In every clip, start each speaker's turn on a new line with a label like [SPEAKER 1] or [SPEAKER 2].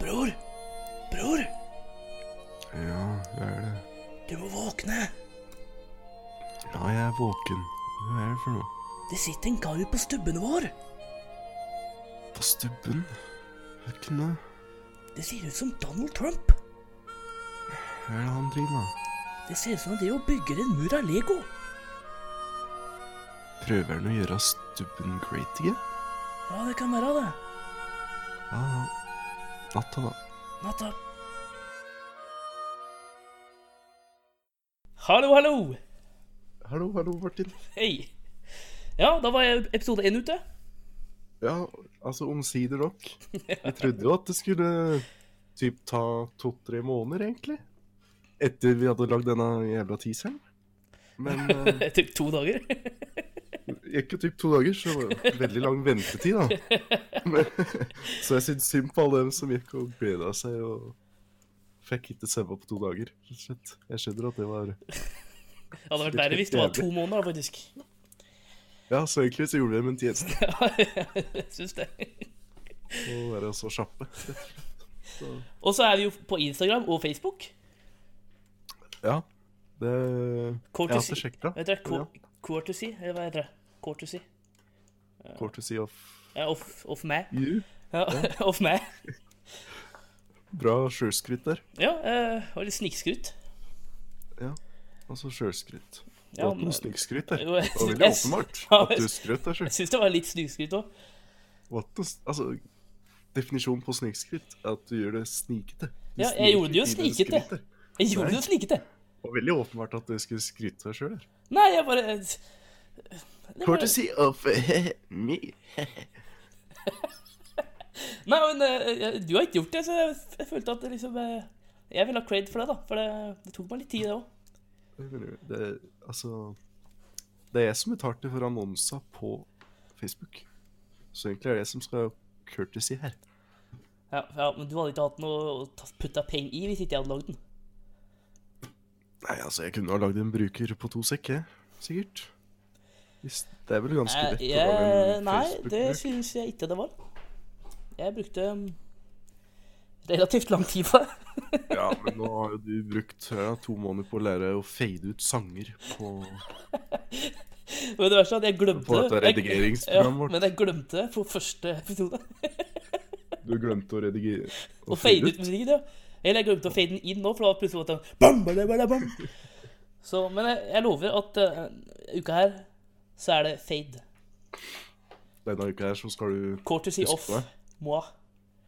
[SPEAKER 1] Bror! Bror!
[SPEAKER 2] Ja, hva er det?
[SPEAKER 1] Du må våkne!
[SPEAKER 2] Ja, jeg er våken. Hva er det for noe?
[SPEAKER 1] Det sitter en kar ute på stubben vår!
[SPEAKER 2] På stubben? Hvilken da?
[SPEAKER 1] Det ser ut som Donald Trump!
[SPEAKER 2] Hva er det han driver med?
[SPEAKER 1] Det ser ut som han driver og bygger en mur av Lego!
[SPEAKER 2] Prøver han å gjøre stubben great igjen?
[SPEAKER 1] Ja, det kan være det.
[SPEAKER 2] Ja, ja. Natta, da.
[SPEAKER 1] Natta. Hallo, hallo!
[SPEAKER 2] Hallo, hallo, Martin.
[SPEAKER 1] Hei! Ja, da var jeg episode én ute.
[SPEAKER 2] Ja, altså, omsider nok. Jeg trodde jo at det skulle typ ta to-tre måneder, egentlig. Etter vi hadde lagd denne jævla teaseren. Men eh,
[SPEAKER 1] Typ to dager.
[SPEAKER 2] ikke typ to dager, så det var veldig lang ventetid, da. Men, så jeg syns synd på alle dem som gikk og gleda seg og fikk ikke sove på to dager. rett og slett. Jeg skjønner at det var
[SPEAKER 1] Det hadde vært verre hvis det var to måneder, faktisk.
[SPEAKER 2] Ja, så egentlig så gjorde vi dem en tjeneste
[SPEAKER 1] Jeg syns det.
[SPEAKER 2] å være så kjappe. rett og slett.
[SPEAKER 1] Og så er vi jo på Instagram og Facebook.
[SPEAKER 2] Ja. Det Jeg har
[SPEAKER 1] Courtesy-
[SPEAKER 2] ikke sjekka.
[SPEAKER 1] Vet dere,
[SPEAKER 2] Ja,
[SPEAKER 1] cour- courtesy, eller hva heter det? Courtesy.
[SPEAKER 2] Courtesy of
[SPEAKER 1] Ja, off, off meg.
[SPEAKER 2] you.
[SPEAKER 1] Ja, off meg.
[SPEAKER 2] Bra sjølskryt der.
[SPEAKER 1] Ja, eh, og litt snikskryt.
[SPEAKER 2] Ja. Altså sjølskryt. Du
[SPEAKER 1] Ja,
[SPEAKER 2] har ikke
[SPEAKER 1] men-
[SPEAKER 2] noe snikskryt der.
[SPEAKER 1] Jo,
[SPEAKER 2] Det
[SPEAKER 1] jeg
[SPEAKER 2] var veldig
[SPEAKER 1] synes-
[SPEAKER 2] åpenbart
[SPEAKER 1] Ja,
[SPEAKER 2] at
[SPEAKER 1] jeg-
[SPEAKER 2] du skrøt der sjøl.
[SPEAKER 1] Jeg syns det var litt snikskryt òg.
[SPEAKER 2] What the, s- altså, definisjonen på snikskritt er at du gjør det snikete. Du
[SPEAKER 1] Ja, jeg gjorde det jo
[SPEAKER 2] sniker i
[SPEAKER 1] snikete.
[SPEAKER 2] skrittet.
[SPEAKER 1] Jeg gjorde det snikete.
[SPEAKER 2] Det var veldig åpenbart at du skulle skryte deg sjøl.
[SPEAKER 1] Nei, jeg bare eh, det var-
[SPEAKER 2] Courtesy of me.
[SPEAKER 1] Nei, men eh, jeg- du har ikke gjort det, så jeg, jeg følte at det liksom eh, Jeg vil ha cred for det, da. For det, det tok meg litt tid, det òg.
[SPEAKER 2] Det, altså, det er jeg som betalte for annonsa på Facebook. Så egentlig er det jeg som skal ha courtesy her.
[SPEAKER 1] Ja, ja, men du hadde ikke hatt noe å ta- putte penger i hvis ikke jeg hadde lagd den.
[SPEAKER 2] Nei, altså, jeg kunne ha lagd en bruker på to sekker, sikkert. Hvis, det er vel ganske
[SPEAKER 1] Eh,
[SPEAKER 2] lett å lage
[SPEAKER 1] jeg,
[SPEAKER 2] en
[SPEAKER 1] nei, det
[SPEAKER 2] Facebook-bruker.
[SPEAKER 1] syns jeg ikke det var. Jeg brukte mm, relativt lang tid på det.
[SPEAKER 2] Ja, men nå har jo du brukt ja, to måneder på å lære å fade ut sanger på,
[SPEAKER 1] Men det verste er at jeg glemte
[SPEAKER 2] på dette
[SPEAKER 1] det. Jeg-
[SPEAKER 2] redigeringsprogrammet
[SPEAKER 1] Ja,
[SPEAKER 2] vårt.
[SPEAKER 1] men jeg glemte det på første episode.
[SPEAKER 2] Du glemte å redigere.
[SPEAKER 1] Å fade ut musikken, ja. Eller jeg glemte å fade den inn nå, for da var det plutselig at den bam, bada, bada, bam. Så, Men jeg, jeg lover at eh, uka her så er det fade.
[SPEAKER 2] Denne uka her så skal du
[SPEAKER 1] Courtesy
[SPEAKER 2] Husk
[SPEAKER 1] off
[SPEAKER 2] det.
[SPEAKER 1] moi.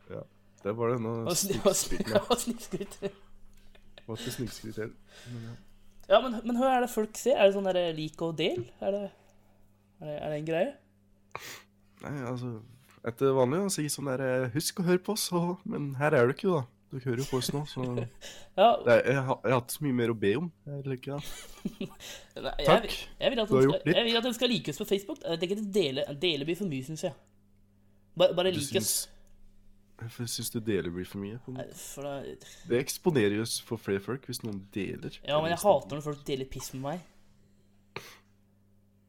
[SPEAKER 2] Ja, det var
[SPEAKER 1] Og
[SPEAKER 2] denne
[SPEAKER 1] sn- og sn-
[SPEAKER 2] snikskryten.
[SPEAKER 1] og snikskryt.
[SPEAKER 2] Det var ikke snikskryt heller.
[SPEAKER 1] Ja, men, men hva er det folk ser? Er det sånn der lik og del? Er det, er det, er det en greie?
[SPEAKER 2] Nei, altså, etter vanlig å si sånn der, eh, husk å høre på oss, og, men her er du ikke da. Du hører jo på oss nå, så det
[SPEAKER 1] Ja,
[SPEAKER 2] er, jeg, har, jeg har ikke så mye mer å be om. Jeg liker det.
[SPEAKER 1] nei, jeg,
[SPEAKER 2] Takk.
[SPEAKER 1] vil- Jeg vil at
[SPEAKER 2] Du har
[SPEAKER 1] de
[SPEAKER 2] gjort
[SPEAKER 1] skal,
[SPEAKER 2] litt.
[SPEAKER 1] jeg vil at de skal like oss på Facebook. Jeg tenker at dele, dele blir for mye, syns jeg. Bare, bare
[SPEAKER 2] Du
[SPEAKER 1] lik oss.
[SPEAKER 2] syns- Jeg syns du deler blir for mye. på en måte.
[SPEAKER 1] Nei, For da,
[SPEAKER 2] Det eksponerer jo oss for flere folk hvis noen deler.
[SPEAKER 1] ja, men jeg hater når folk deler piss med meg.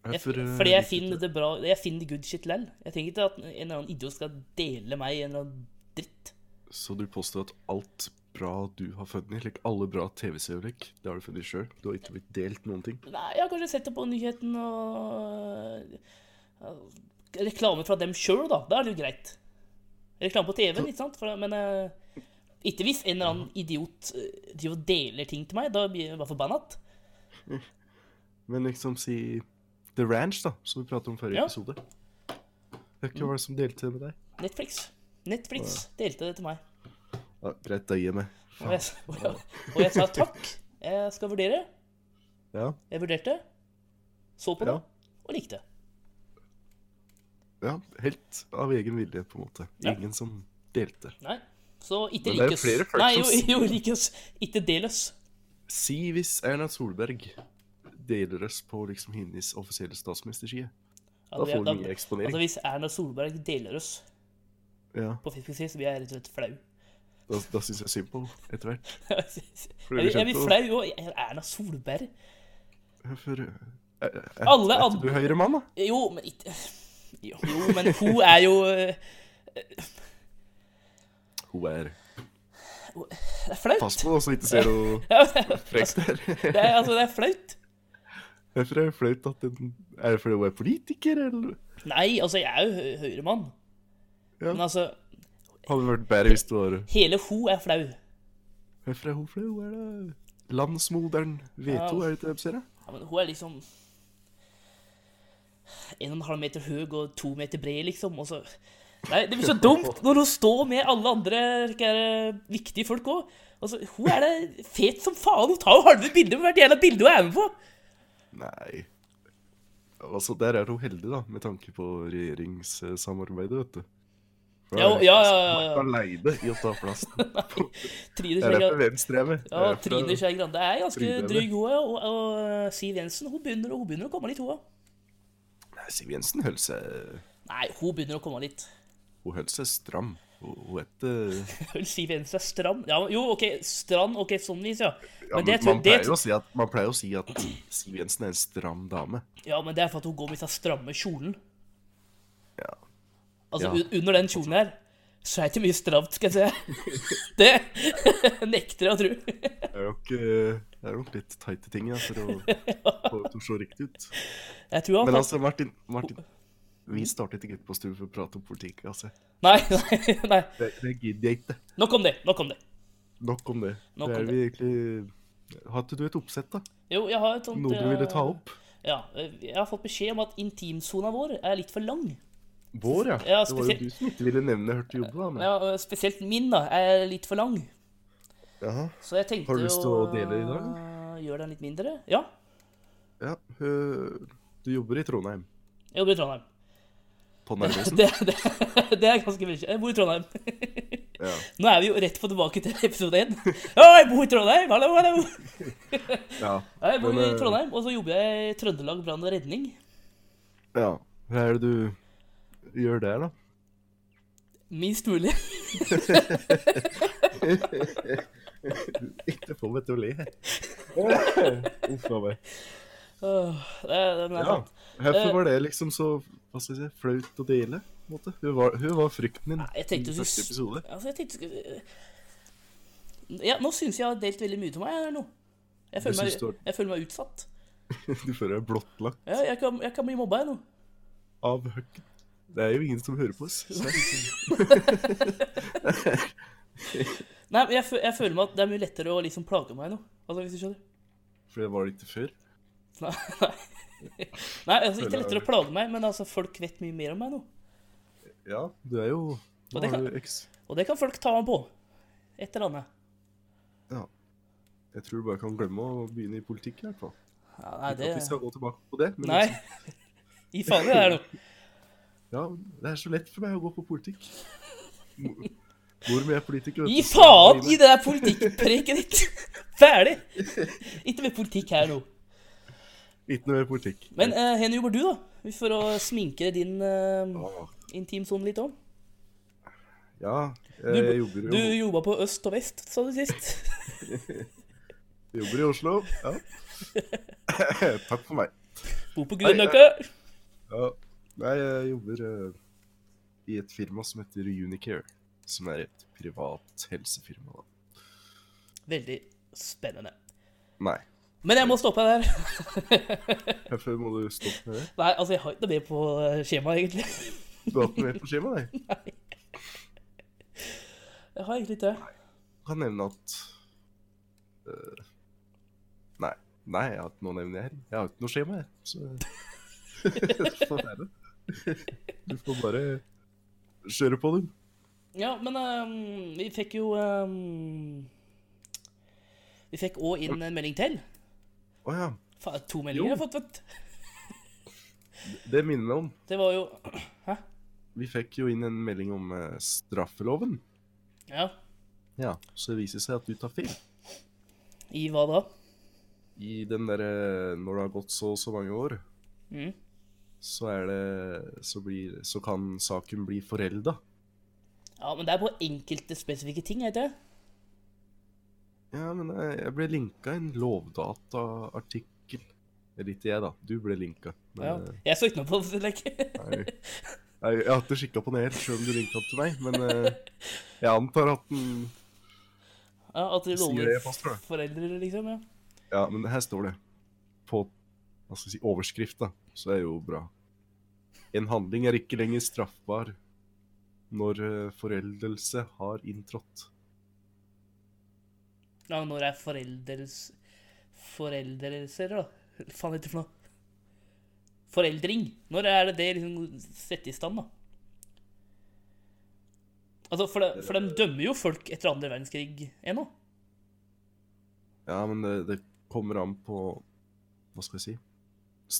[SPEAKER 2] Ja,
[SPEAKER 1] Jeg,
[SPEAKER 2] for, eh,
[SPEAKER 1] fordi jeg
[SPEAKER 2] liker
[SPEAKER 1] finner
[SPEAKER 2] det.
[SPEAKER 1] det bra Jeg finner good shit lell. Jeg trenger ikke at en eller annen idiot skal dele meg i en eller annen dritt.
[SPEAKER 2] Så du påstår at alt bra du har funnet, like alle bra TV-seerøyeblikk, det har du funnet sjøl? Du har ikke blitt delt noen ting?
[SPEAKER 1] Nei, jeg har kanskje sett det på nyheten og ja, Reklame fra dem sjøl, da. Da er det jo greit. Reklame på TV-en, ikke sant? For, men eh, ikke hvis en eller annen idiot eh, driver og deler ting til meg. Da blir jeg bare forbanna.
[SPEAKER 2] Men liksom si The Ranch, da, som vi pratet om forrige
[SPEAKER 1] Ja.
[SPEAKER 2] episode. Hvem var det som delte det med deg?
[SPEAKER 1] Netflix. Netflix delte det til meg.
[SPEAKER 2] Ja, greit, da gir jeg meg.
[SPEAKER 1] Og jeg, og jeg, og jeg sa takk. Jeg skal vurdere.
[SPEAKER 2] Ja,
[SPEAKER 1] Jeg vurderte. Så på det.
[SPEAKER 2] Ja.
[SPEAKER 1] Og likte.
[SPEAKER 2] ja, helt av egen vilje, på en måte.
[SPEAKER 1] Ja.
[SPEAKER 2] Ingen som delte.
[SPEAKER 1] Nei. Så ikke
[SPEAKER 2] Men det er jo
[SPEAKER 1] likes.
[SPEAKER 2] flere folk
[SPEAKER 1] Nei,
[SPEAKER 2] som
[SPEAKER 1] jo,
[SPEAKER 2] sier-
[SPEAKER 1] jo likes. Ikke deles.
[SPEAKER 2] Si hvis Erna Solberg deler oss på liksom hennes offisielle statsministerside. Da får du mye eksponering.
[SPEAKER 1] Altså, hvis Erna Solberg deler oss
[SPEAKER 2] Ja,
[SPEAKER 1] på Facebook-side, så blir jeg rett og slett flau.
[SPEAKER 2] Da, da syns jeg synd på henne etter hvert.
[SPEAKER 1] jeg,
[SPEAKER 2] blir
[SPEAKER 1] blir- jeg
[SPEAKER 2] kjent
[SPEAKER 1] blir
[SPEAKER 2] på-
[SPEAKER 1] flau òg. Erna Solberg
[SPEAKER 2] For eh, eh, eh,
[SPEAKER 1] Alle
[SPEAKER 2] er
[SPEAKER 1] andre
[SPEAKER 2] ikke du Høyre-mann, da?
[SPEAKER 1] Jo, men ikke Jo, jo, men hun er jo eh,
[SPEAKER 2] Hun er
[SPEAKER 1] Det er flaut.
[SPEAKER 2] Pass på nå, så ikke ser noe
[SPEAKER 1] Ja, men altså,
[SPEAKER 2] frekt der.
[SPEAKER 1] det er, altså, det er flaut.
[SPEAKER 2] Hvorfor er det flaut at den Er det fordi hun er politiker, eller?
[SPEAKER 1] Nei, altså, jeg er jo hø- høyremann.
[SPEAKER 2] Ja.
[SPEAKER 1] Men altså,
[SPEAKER 2] Hadde vært bedre hvis det var
[SPEAKER 1] hele ho er flau.
[SPEAKER 2] Hvorfor er hun flau? Er det landsmoderen Veto,
[SPEAKER 1] Ja.
[SPEAKER 2] er det ikke det de sier? da?
[SPEAKER 1] Ja, men hun er liksom en og en halv meter høy og to meter bred, liksom. Og så Nei, det blir så dumt når hun står med alle andre ikke er, viktige folk òg. Altså, hun er det fet som faen. Hun tar jo halve bildet med hvert jævla bilde hun er med på.
[SPEAKER 2] Nei Altså, der er hun heldig, da, med tanke på regjeringssamarbeidet, vet du. Hun er
[SPEAKER 1] Ja, ja, ja, ja, ja.
[SPEAKER 2] ikke Alene i å ta plassen.
[SPEAKER 1] Trine Skei
[SPEAKER 2] Det er derfor
[SPEAKER 1] Grande,
[SPEAKER 2] Venstre er med. Det
[SPEAKER 1] ja,
[SPEAKER 2] er derfor-
[SPEAKER 1] Trine Skei Grande er ganske
[SPEAKER 2] Trine er det.
[SPEAKER 1] dryg, hun òg. Og, og Siv Jensen hun begynner, hun begynner å komme litt, hun òg.
[SPEAKER 2] Nei, Siv Jensen holdt seg
[SPEAKER 1] Nei, hun begynner å komme litt.
[SPEAKER 2] Hun holdt seg stram. Hun hun er ikke
[SPEAKER 1] Vel, Siv Jensen er stram. Ja, jo, OK, stram. OK, sånn vis, ja.
[SPEAKER 2] ja,
[SPEAKER 1] Men
[SPEAKER 2] men
[SPEAKER 1] det, tror-
[SPEAKER 2] man,
[SPEAKER 1] det,
[SPEAKER 2] pleier jo å si at, man pleier å si at Siv Jensen er en stram dame.
[SPEAKER 1] Ja, men det er for at hun går med den stramme kjolen.
[SPEAKER 2] Ja.
[SPEAKER 1] Altså,
[SPEAKER 2] Ja.
[SPEAKER 1] un- under den kjolen her så er det ikke mye stramt, skal jeg si. Det nekter jeg å tro.
[SPEAKER 2] Det er nok, eh, det er nok litt tighte ting ja, altså, for å for å se riktig ut.
[SPEAKER 1] Jeg tror han
[SPEAKER 2] Men altså, Martin, Martin Vi startet ikke på stue for å prate om politikk. altså.
[SPEAKER 1] Nei, nei, nei.
[SPEAKER 2] Det, det gidder jeg ikke.
[SPEAKER 1] Nok om det. Nok om det.
[SPEAKER 2] Nok om det.
[SPEAKER 1] Nok
[SPEAKER 2] det
[SPEAKER 1] om
[SPEAKER 2] er vi egentlig Hadde du et oppsett, da?
[SPEAKER 1] Jo, jeg har et sånt
[SPEAKER 2] Noe du
[SPEAKER 1] eh,
[SPEAKER 2] ville ta opp?
[SPEAKER 1] Ja. eh, Jeg har fått beskjed om at intimsona vår er litt for lang.
[SPEAKER 2] Vår, ja.
[SPEAKER 1] Ja,
[SPEAKER 2] det var jo
[SPEAKER 1] spesielt-
[SPEAKER 2] du som ikke ville nevne Hørt jobbe, da. Men...
[SPEAKER 1] Ja, eh, spesielt min, da, er litt for lang.
[SPEAKER 2] Jaha.
[SPEAKER 1] Så jeg tenkte
[SPEAKER 2] Har du lyst til å dele i dag?
[SPEAKER 1] eh, Gjøre den litt mindre? Ja.
[SPEAKER 2] Ja, øh, Du jobber i Trondheim.
[SPEAKER 1] Jeg jobber i Trondheim.
[SPEAKER 2] På Narvesen.
[SPEAKER 1] Det, det, det er ganske mye. Jeg bor i Trondheim.
[SPEAKER 2] Ja.
[SPEAKER 1] Nå er vi jo rett på tilbake til episode 1. Ja, jeg bor i Trondheim! Hallo, hallo!
[SPEAKER 2] ja.
[SPEAKER 1] Ja, Jeg bor
[SPEAKER 2] Men,
[SPEAKER 1] i
[SPEAKER 2] eh,
[SPEAKER 1] Trondheim, og så jobber jeg i Trøndelag brann og redning.
[SPEAKER 2] ja. Hva er det du gjør der, da?
[SPEAKER 1] Minst mulig.
[SPEAKER 2] Ikke få meg til å le. Uff a meg.
[SPEAKER 1] Åh, Det, er- den er
[SPEAKER 2] Ja.
[SPEAKER 1] sant. Eh,
[SPEAKER 2] Hvorfor var det liksom så hva skal jeg si, flaut å dele? på en måte? Hun var, hun var frykten din
[SPEAKER 1] Nei, jeg tenkte
[SPEAKER 2] i
[SPEAKER 1] du
[SPEAKER 2] første
[SPEAKER 1] skulle
[SPEAKER 2] episode.
[SPEAKER 1] Altså, jeg tenkte du skulle Ja, nå syns jeg jeg har delt veldig mye av meg her nå. Jeg
[SPEAKER 2] Du
[SPEAKER 1] føler,
[SPEAKER 2] syns du
[SPEAKER 1] meg,
[SPEAKER 2] har-
[SPEAKER 1] jeg føler meg utsatt.
[SPEAKER 2] Du føler deg blottlagt.
[SPEAKER 1] Ja, jeg kan, jeg kan bli mobba, jeg nå.
[SPEAKER 2] av høkken. Det er jo ingen som hører på oss. så det er liksom-
[SPEAKER 1] Nei, men jeg, fø- jeg føler meg at det er mye lettere å liksom plage meg nå. Altså, hvis du skjønner.
[SPEAKER 2] For det var det ikke før.
[SPEAKER 1] Nei, nei. nei altså, ikke lettere å plage meg, men altså, folk vet mye mer om meg nå.
[SPEAKER 2] Ja, du er jo
[SPEAKER 1] Og
[SPEAKER 2] Nå
[SPEAKER 1] det
[SPEAKER 2] har
[SPEAKER 1] kan-
[SPEAKER 2] du eks...
[SPEAKER 1] Og det kan folk ta meg på. Et eller annet.
[SPEAKER 2] Ja. Jeg tror du bare kan glemme å begynne i politikk, i hvert fall.
[SPEAKER 1] Ja, nei,
[SPEAKER 2] Ikke at vi
[SPEAKER 1] det
[SPEAKER 2] skal gå tilbake på det, men
[SPEAKER 1] Nei.
[SPEAKER 2] liksom,
[SPEAKER 1] Gi faen i det her nå.
[SPEAKER 2] ja, det er så lett for meg å gå på politikk. Mo- Mor mi er politiker. vet
[SPEAKER 1] Gi
[SPEAKER 2] du, så
[SPEAKER 1] faen i
[SPEAKER 2] jeg-
[SPEAKER 1] det der politikkpreken ditt! Ferdig! Ikke mer politikk her nå.
[SPEAKER 2] Ikke noe mer politikk.
[SPEAKER 1] Men eh, Henny, jobber du, da? For å sminke din eh,
[SPEAKER 2] Ah,
[SPEAKER 1] intimsone litt òg.
[SPEAKER 2] Ja,
[SPEAKER 1] Du-
[SPEAKER 2] jeg jobber
[SPEAKER 1] Du
[SPEAKER 2] jo,
[SPEAKER 1] jobba på øst og vest, sa du sist.
[SPEAKER 2] jobber i Oslo. Ja. Takk for meg.
[SPEAKER 1] Bor på Grünerløkka.
[SPEAKER 2] Ja. Nei, jeg jobber eh, i et firma som heter Unicare. Som er et privat helsefirma, da.
[SPEAKER 1] Veldig spennende.
[SPEAKER 2] Nei.
[SPEAKER 1] Men jeg må stoppe der.
[SPEAKER 2] Hvorfor må du stoppe med det?
[SPEAKER 1] Nei, altså, jeg har ikke noe mer på eh, skjemaet, egentlig.
[SPEAKER 2] Du har ikke noe mer på skjemaet, deg.
[SPEAKER 1] Jeg har egentlig ikke det.
[SPEAKER 2] Kan nevne at eh, Nei. Nei, jeg har ikke noe å nevne her. Jeg har ikke noe skjema, jeg. Så Sånn er det. Du får bare kjøre på, du.
[SPEAKER 1] Ja, men eh, vi fikk jo eh, Vi fikk òg inn en melding til.
[SPEAKER 2] Å ja.
[SPEAKER 1] Faen, to meldinger
[SPEAKER 2] Jo.
[SPEAKER 1] jeg har fått, vet du.
[SPEAKER 2] Det minner meg om
[SPEAKER 1] Det var jo Hæ?
[SPEAKER 2] Vi fikk jo inn en melding om eh, straffeloven.
[SPEAKER 1] Ja.
[SPEAKER 2] Ja, Så det viser seg at du tar feil.
[SPEAKER 1] I hva da?
[SPEAKER 2] I den derre Når det har gått så og så mange år,
[SPEAKER 1] Mm.
[SPEAKER 2] så er det Så, blir, så kan saken bli forelda.
[SPEAKER 1] Ja, men det er på enkelte spesifikke ting, er det ikke?
[SPEAKER 2] Ja, men jeg, jeg ble linka en lovdataartikkel. Eller ikke jeg, da. Du ble linka. Men,
[SPEAKER 1] Ja.
[SPEAKER 2] eh,
[SPEAKER 1] Jeg så ikke noe på det. Like.
[SPEAKER 2] Nei, nei, jeg har ikke skikka på den helt, sjøl om du linka den til meg. Men eh, jeg antar at den
[SPEAKER 1] Ja, at de
[SPEAKER 2] Sier
[SPEAKER 1] dårlige
[SPEAKER 2] det fast, tror jeg.
[SPEAKER 1] foreldre, liksom. Ja.
[SPEAKER 2] Ja, men her står det på hva skal jeg si, overskrift, da, så er jo bra. En handling er ikke lenger straffbar når eh, foreldelse har inntrådt.
[SPEAKER 1] ja når er foreldres Foreldelser, da? Hva faen heter det for noe? Foreldring. Når er det det liksom setter i stand, da? Altså, for, det, for de dømmer jo folk etter andre verdenskrig ennå.
[SPEAKER 2] Ja, men det, det kommer an på Hva skal jeg si?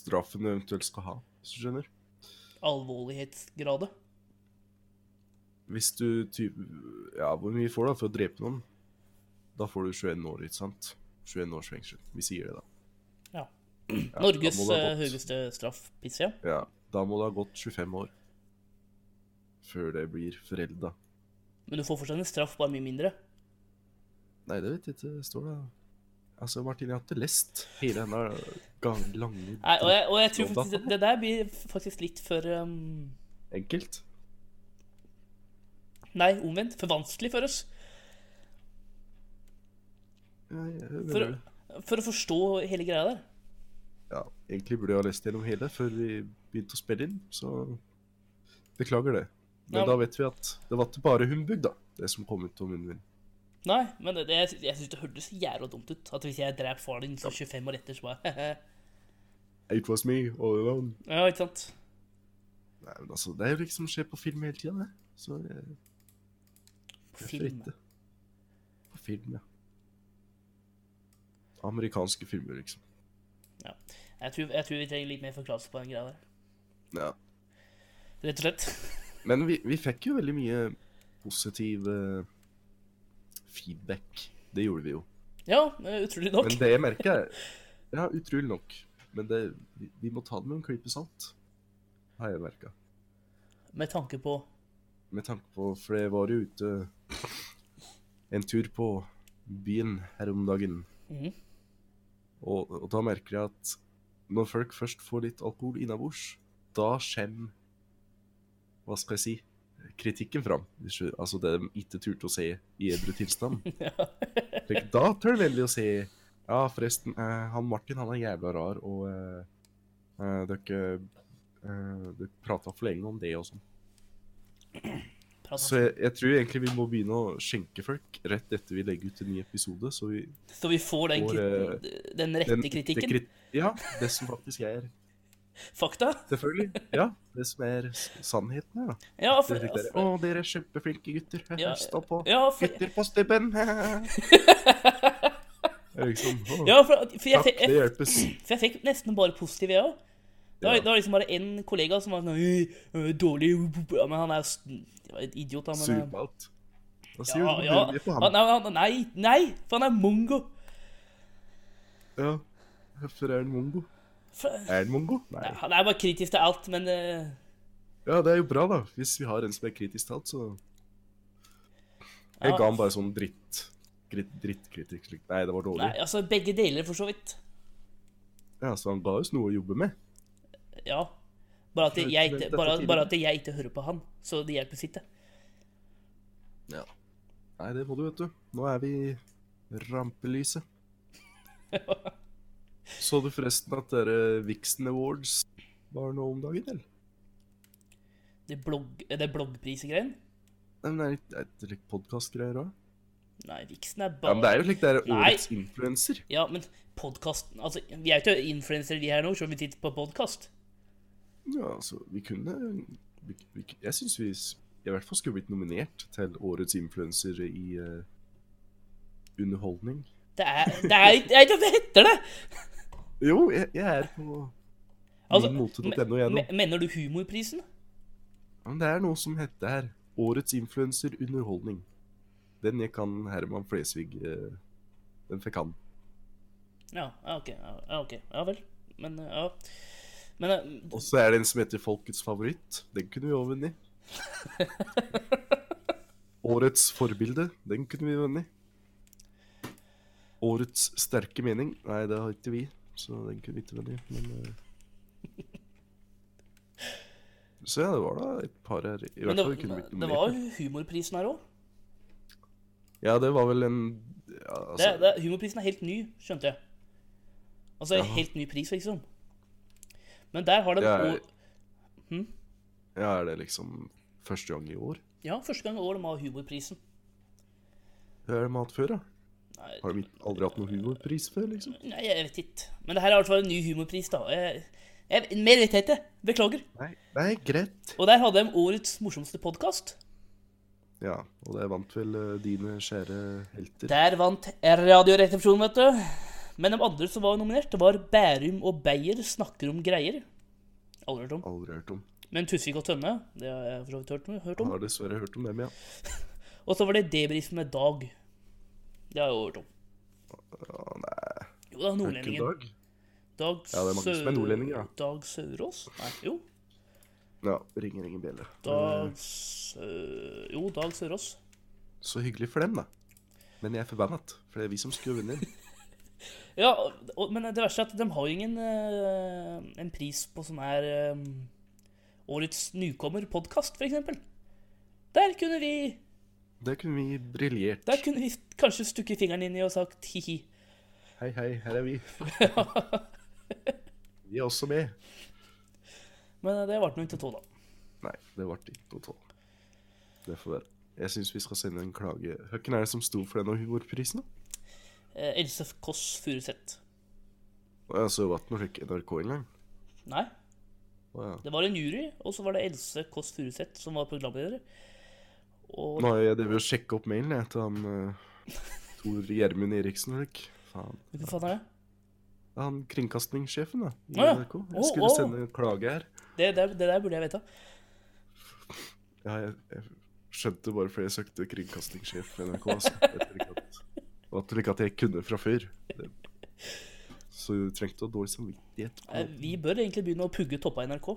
[SPEAKER 2] Straffen du eventuelt skal ha, hvis du skjønner.
[SPEAKER 1] Alvorlighetsgrade.
[SPEAKER 2] Hvis du typ, Ja, hvor mye får du da for å drepe noen? Da får du 21 år, ikke sant? 21 års fengsel. Vi sier det, da.
[SPEAKER 1] Ja.
[SPEAKER 2] Ja,
[SPEAKER 1] Norges
[SPEAKER 2] da må det ha
[SPEAKER 1] eh,
[SPEAKER 2] gått-
[SPEAKER 1] høyeste straff, piss, ja.
[SPEAKER 2] Ja, da må det ha gått 25 år før det blir forelda.
[SPEAKER 1] Men du får fortsatt en straff, bare mye mindre.
[SPEAKER 2] Nei, det vet jeg ikke. Det står det Altså, Martin, jeg har ikke lest hele denne gang, lange
[SPEAKER 1] Nei, og jeg, og jeg tror
[SPEAKER 2] Lov, da.
[SPEAKER 1] faktisk det, det der blir faktisk litt for um,
[SPEAKER 2] Enkelt.
[SPEAKER 1] Nei, omvendt. For vanskelig for oss.
[SPEAKER 2] Ja, jeg mener
[SPEAKER 1] For,
[SPEAKER 2] det.
[SPEAKER 1] for å forstå hele greia der.
[SPEAKER 2] ja, egentlig burde jeg ha lest gjennom hele før vi begynte å spille inn, så beklager det. Men
[SPEAKER 1] Ja.
[SPEAKER 2] da vet vi at det var ikke bare humbug, da, det som kom ut av munnen min.
[SPEAKER 1] Nei, men det, jeg, jeg syns det hørtes jævla dumt ut. At hvis jeg dreper faren din så 25 år etter, så bare
[SPEAKER 2] It was me all alone.
[SPEAKER 1] Ja, ikke sant?
[SPEAKER 2] Nei, men altså, det er jo liksom skjer på film hele tida, det. Så jeg,
[SPEAKER 1] På
[SPEAKER 2] jeg
[SPEAKER 1] film.
[SPEAKER 2] fritter. På film, ja. Amerikanske filmer, liksom.
[SPEAKER 1] Ja. Jeg, tror, jeg tror vi trenger litt mer forklarelse på den greia der.
[SPEAKER 2] Ja.
[SPEAKER 1] Rett og slett.
[SPEAKER 2] Men vi, vi fikk jo veldig mye positiv eh, feedback. Det gjorde vi jo.
[SPEAKER 1] Ja, eh, utrolig nok.
[SPEAKER 2] Men det jeg merker er Ja, utrolig nok. Men det, vi, vi må ta det med en klype salt, har jeg merka.
[SPEAKER 1] Med tanke på
[SPEAKER 2] Med tanke på For jeg var jo ute en tur på byen her om dagen.
[SPEAKER 1] Mhm.
[SPEAKER 2] Og, og da merker jeg at når folk først får litt alkohol innabords, da kommer Hva skal jeg si? Kritikken fram. Hvis du- Altså det de ikke turte å se i edru tilstand. Tenk, Da tør de veldig å si Ja, forresten, eh, han Martin han er jævla rar, og eh, eh, dere eh, Dere prata for lenge om det og sånn.
[SPEAKER 1] prat
[SPEAKER 2] Så jeg, jeg tror egentlig vi må begynne å skjenke folk rett etter vi legger ut en ny episode. Så vi
[SPEAKER 1] Så vi får den,
[SPEAKER 2] Får, eh,
[SPEAKER 1] krit den rette
[SPEAKER 2] den-
[SPEAKER 1] kritikken.
[SPEAKER 2] det krit- ja, det som faktisk er
[SPEAKER 1] Fakta.
[SPEAKER 2] Selvfølgelig. Ja, det som er s- sannheten her, da.
[SPEAKER 1] Ja, for,
[SPEAKER 2] Det er slik der, Å, dere er kjempeflinke gutter.
[SPEAKER 1] Ja,
[SPEAKER 2] Stå på.
[SPEAKER 1] ja, for,
[SPEAKER 2] Gutter på stubben. Det er liksom, å,
[SPEAKER 1] ja, for, for, jeg,
[SPEAKER 2] Takk, det
[SPEAKER 1] jeg,
[SPEAKER 2] hjelpes.
[SPEAKER 1] for jeg fikk nesten bare positive, jeg òg. Det, var-
[SPEAKER 2] Ja.
[SPEAKER 1] det var liksom bare én kollega som var sånn «Øh, øh, Dårlig ja, Men han er jo s- det var et idiot, da. Men, eh,
[SPEAKER 2] Supermat. Da sier
[SPEAKER 1] ja,
[SPEAKER 2] du
[SPEAKER 1] ja.
[SPEAKER 2] noe på
[SPEAKER 1] Ah,
[SPEAKER 2] ham.
[SPEAKER 1] Nei, han- nei, nei, for han er mongo.
[SPEAKER 2] Ja. Hvorfor er han mongo?
[SPEAKER 1] For,
[SPEAKER 2] Er han mongo?
[SPEAKER 1] nei,
[SPEAKER 2] Nei.
[SPEAKER 1] han er bare kritisk til alt, men eh,
[SPEAKER 2] Ja, det er jo bra, da. Hvis vi har en som er kritisk til alt, så Jeg
[SPEAKER 1] Ja.
[SPEAKER 2] ga han bare sånn dritt dritt- Drittkritikk. slik. Nei, det var dårlig.
[SPEAKER 1] Nei, altså begge deler, for så vidt.
[SPEAKER 2] Ja, Så han ga oss noe å jobbe med.
[SPEAKER 1] Ja. Bare at jeg,
[SPEAKER 2] Dette-
[SPEAKER 1] ikke-
[SPEAKER 2] dette
[SPEAKER 1] bare,
[SPEAKER 2] tidligere.
[SPEAKER 1] bare at jeg ikke hører på han, så det hjelper sitt, det.
[SPEAKER 2] Ja. Nei, det må du, vet du. Nå er vi i rampelyset. Så du forresten at dere Vixen Awards var nå om dagen, eller?
[SPEAKER 1] Det blogg, det bloggprisegreien.
[SPEAKER 2] Nei, men er det er det litt podkastgreier òg?
[SPEAKER 1] Nei, Vixen er
[SPEAKER 2] Ja,
[SPEAKER 1] bare
[SPEAKER 2] men det er jo slik det er
[SPEAKER 1] Nei.
[SPEAKER 2] årets influenser.
[SPEAKER 1] Ja, men podkasten Altså, vi er jo ikke influensere, vi her nå, som vi sitter på podkast.
[SPEAKER 2] Ja, altså, vi kunne vi, vi, Jeg syns vi s- i hvert fall skulle blitt nominert til årets influenser i eh, underholdning.
[SPEAKER 1] Det er Det er ikke det er ikke hva heter det!
[SPEAKER 2] Jo, jeg, jeg er på minmote.no jeg nå.
[SPEAKER 1] Altså, me- Mener du humorprisen?
[SPEAKER 2] Men det er noe som heter her Årets influenser underholdning. Den jeg kan Herman Flesvig eh, Den fikk han.
[SPEAKER 1] Ja, ja, OK. Ja, ja, ok. ja vel. Men eh, ja. Men eh,
[SPEAKER 2] Og så er det en som heter Folkets favoritt. Den kunne vi òg vunnet. Årets forbilde. Den kunne vi vunnet. Årets sterke mening. Nei, det har ikke vi, så den kunne vi ikke vunnet. Men eh. Så ja, det var da et par her. I
[SPEAKER 1] men
[SPEAKER 2] hvert
[SPEAKER 1] det,
[SPEAKER 2] fall kunne
[SPEAKER 1] men
[SPEAKER 2] blitt
[SPEAKER 1] det var
[SPEAKER 2] nominert.
[SPEAKER 1] jo humorprisen her òg.
[SPEAKER 2] Ja, det var vel en ja,
[SPEAKER 1] Det,
[SPEAKER 2] altså,
[SPEAKER 1] det, humorprisen er helt ny, skjønte jeg. Altså
[SPEAKER 2] Jaha.
[SPEAKER 1] helt ny pris, liksom. Men der har den
[SPEAKER 2] Ja,
[SPEAKER 1] ja,
[SPEAKER 2] ja, er det liksom første gang i år?
[SPEAKER 1] ja, første gang i år de har humorprisen.
[SPEAKER 2] Hva er det med hatt før, da?
[SPEAKER 1] Nei,
[SPEAKER 2] Har de aldri hatt noen humorpris før, liksom?
[SPEAKER 1] Nei, jeg vet ikke. Men det her er i hvert fall en ny humorpris, da. Jeg, jeg, mer vet jeg ikke. Beklager.
[SPEAKER 2] Nei, nei greit.
[SPEAKER 1] Og der hadde de årets morsomste podkast.
[SPEAKER 2] Ja, og det vant vel eh, dine kjære helter.
[SPEAKER 1] Der vant Radioresepsjonen, vet du. Men de andre som var nominert, det var Bærum og Beyer snakker om greier. Aldri hørt om.
[SPEAKER 2] Aldri hørt om.
[SPEAKER 1] Men Tusvik og Tønne, det har jeg for så vidt hørt, hørt om.
[SPEAKER 2] Har dessverre hørt om dem, ja.
[SPEAKER 1] Og så var det Debrif med Dag. Det har jeg også hørt om.
[SPEAKER 2] ja nei,
[SPEAKER 1] Jo da, nordlendingen.
[SPEAKER 2] Dag.
[SPEAKER 1] Dag
[SPEAKER 2] Ja, det er mange som er
[SPEAKER 1] Sør-
[SPEAKER 2] nordlendinger, da.
[SPEAKER 1] Dag Sørås? Nei, jo.
[SPEAKER 2] Ja, ringer ingen bjelle. eh,
[SPEAKER 1] Dag Sø... Jo, Dag Sørås.
[SPEAKER 2] Så hyggelig for dem, da. Men jeg er forbannet, for det er vi som skulle vunnet.
[SPEAKER 1] Ja, og, men det verste er at de har jo ingen eh, en pris på sånn her eh, Årets nykommer-podkast, f.eks. Der kunne vi
[SPEAKER 2] Der kunne vi briljert.
[SPEAKER 1] Der kunne vi kanskje stukket fingeren inn i og sagt hi-hi.
[SPEAKER 2] Hei, hei, her er vi. vi er også med.
[SPEAKER 1] Men eh, det varte nå ikke to, da.
[SPEAKER 2] Nei, det ble ikke noe tolv. Det får være. Jeg syns vi skal sende en klage. Hvem er det som sto for denne humorprisen? da?
[SPEAKER 1] Eh, Else Kåss Furuseth.
[SPEAKER 2] Å, ja, så det var ikke noe slik NRK engang?
[SPEAKER 1] Nei,
[SPEAKER 2] Å, ja.
[SPEAKER 1] det var en jury, og så var det Else Kåss Furuseth som var programleder. Og
[SPEAKER 2] Nå har jeg drevet og sjekka opp mailen jeg, til han eh, Tor Gjermund Eriksen. Eller? Faen.
[SPEAKER 1] hva faen er det?
[SPEAKER 2] Det er Han kringkastingssjefen da, i
[SPEAKER 1] Å, ja.
[SPEAKER 2] NRK.
[SPEAKER 1] Å,
[SPEAKER 2] Jeg skulle
[SPEAKER 1] å.
[SPEAKER 2] sende en klage her.
[SPEAKER 1] Det, det, det der burde jeg vite.
[SPEAKER 2] Ja, jeg, jeg skjønte bare fordi jeg søkte kringkastingssjef i NRK. Altså. Etter ikke at, og at, ikke at jeg kunne fra før. Det, så du trengte å ha dårlig samvittighet.
[SPEAKER 1] Eh, Vi bør egentlig begynne å pugge toppa i NRK.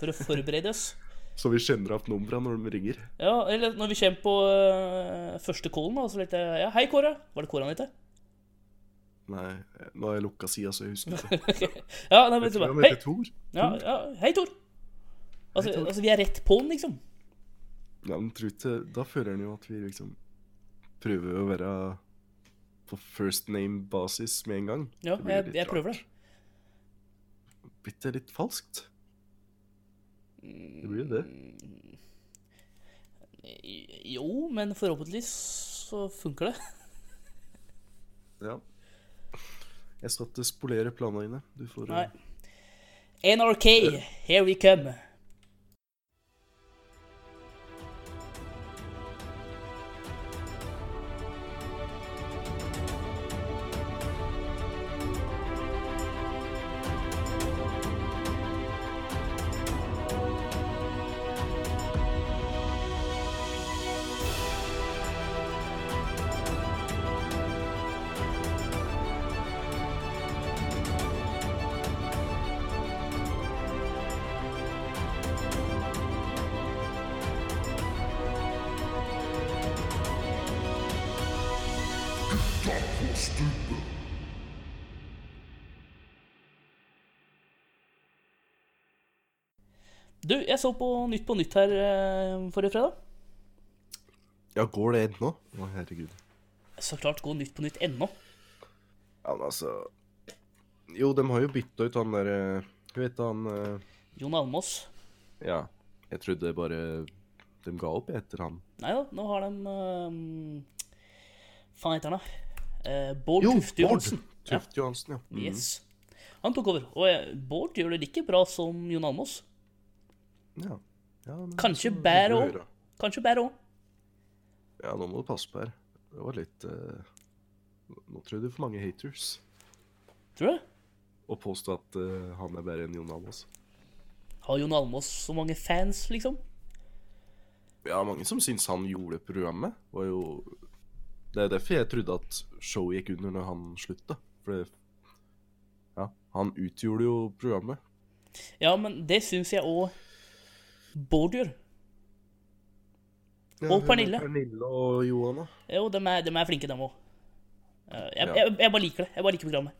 [SPEAKER 1] For å forberede oss.
[SPEAKER 2] Så vi kjenner opp numra når de ringer.
[SPEAKER 1] Ja, eller når vi kommer på eh, første callen, da, så litt eh, Ja, hei, Kåre. Var det Kåre han het?
[SPEAKER 2] Nei, nå har jeg lukka sida, så jeg husker ikke.
[SPEAKER 1] Ja, nei, men
[SPEAKER 2] Jeg
[SPEAKER 1] så
[SPEAKER 2] tror
[SPEAKER 1] bare
[SPEAKER 2] han
[SPEAKER 1] Hei,
[SPEAKER 2] heter Tor.
[SPEAKER 1] ja, ja, hei Tor. Altså,
[SPEAKER 2] Hei, Tor.
[SPEAKER 1] altså, vi er rett på'n, liksom.
[SPEAKER 2] Ja, men tror ikke, da føler han jo at vi liksom prøver å være på first name-basis med en gang.
[SPEAKER 1] Ja,
[SPEAKER 2] Det blir
[SPEAKER 1] jeg,
[SPEAKER 2] litt
[SPEAKER 1] jeg prøver det.
[SPEAKER 2] rart. Bitte litt falskt. Det blir jo det.
[SPEAKER 1] Mm. Jo, men forhåpentligvis så funker det.
[SPEAKER 2] Ja. Jeg skal ikke spolere planene dine. Du får eh,
[SPEAKER 1] Nei. NRK, here we come. Du, jeg så på Nytt på Nytt her eh, forrige fredag.
[SPEAKER 2] Ja, går det ennå? Å, herregud.
[SPEAKER 1] Så klart gå Nytt på Nytt ennå.
[SPEAKER 2] Ja, men altså Jo, de har jo bytta ut han derre Du vet han eh,
[SPEAKER 1] Jon Almås.
[SPEAKER 2] Ja. Jeg trodde bare de ga opp etter han.
[SPEAKER 1] Nei da, nå har de uh, Faen heter han da? Eh, Bård
[SPEAKER 2] Jo,
[SPEAKER 1] Tufte
[SPEAKER 2] Bård
[SPEAKER 1] Johansen. Ja,
[SPEAKER 2] Tufte Johansen, ja. Mm.
[SPEAKER 1] yes. Han tok over. Og eh, Bård gjør det like bra som Jon Almås.
[SPEAKER 2] Mm. ja. ja men,
[SPEAKER 1] Kanskje
[SPEAKER 2] så
[SPEAKER 1] bære
[SPEAKER 2] hyggelig å
[SPEAKER 1] også.
[SPEAKER 2] høre.
[SPEAKER 1] Kanskje bedre òg.
[SPEAKER 2] Ja, nå må du passe på her. Det var litt eh, Nå tror jeg du får mange haters.
[SPEAKER 1] Tror du det?
[SPEAKER 2] Å påstå at eh, han er bedre enn Jon Almaas.
[SPEAKER 1] Har Jon Almås så mange fans, liksom?
[SPEAKER 2] Ja, mange som syns han gjorde programmet. Var jo Det er derfor jeg trodde at showet gikk under når han slutta. For det Ja, han utgjorde jo programmet.
[SPEAKER 1] Ja, men det syns jeg òg Bård gjør. Og
[SPEAKER 2] hun-
[SPEAKER 1] Pernille.
[SPEAKER 2] Pernille og Johan, da.
[SPEAKER 1] Jo, de er, dem er flinke, dem òg. Jeg,
[SPEAKER 2] Ja.
[SPEAKER 1] jeg, jeg bare liker det. Jeg bare liker programmet.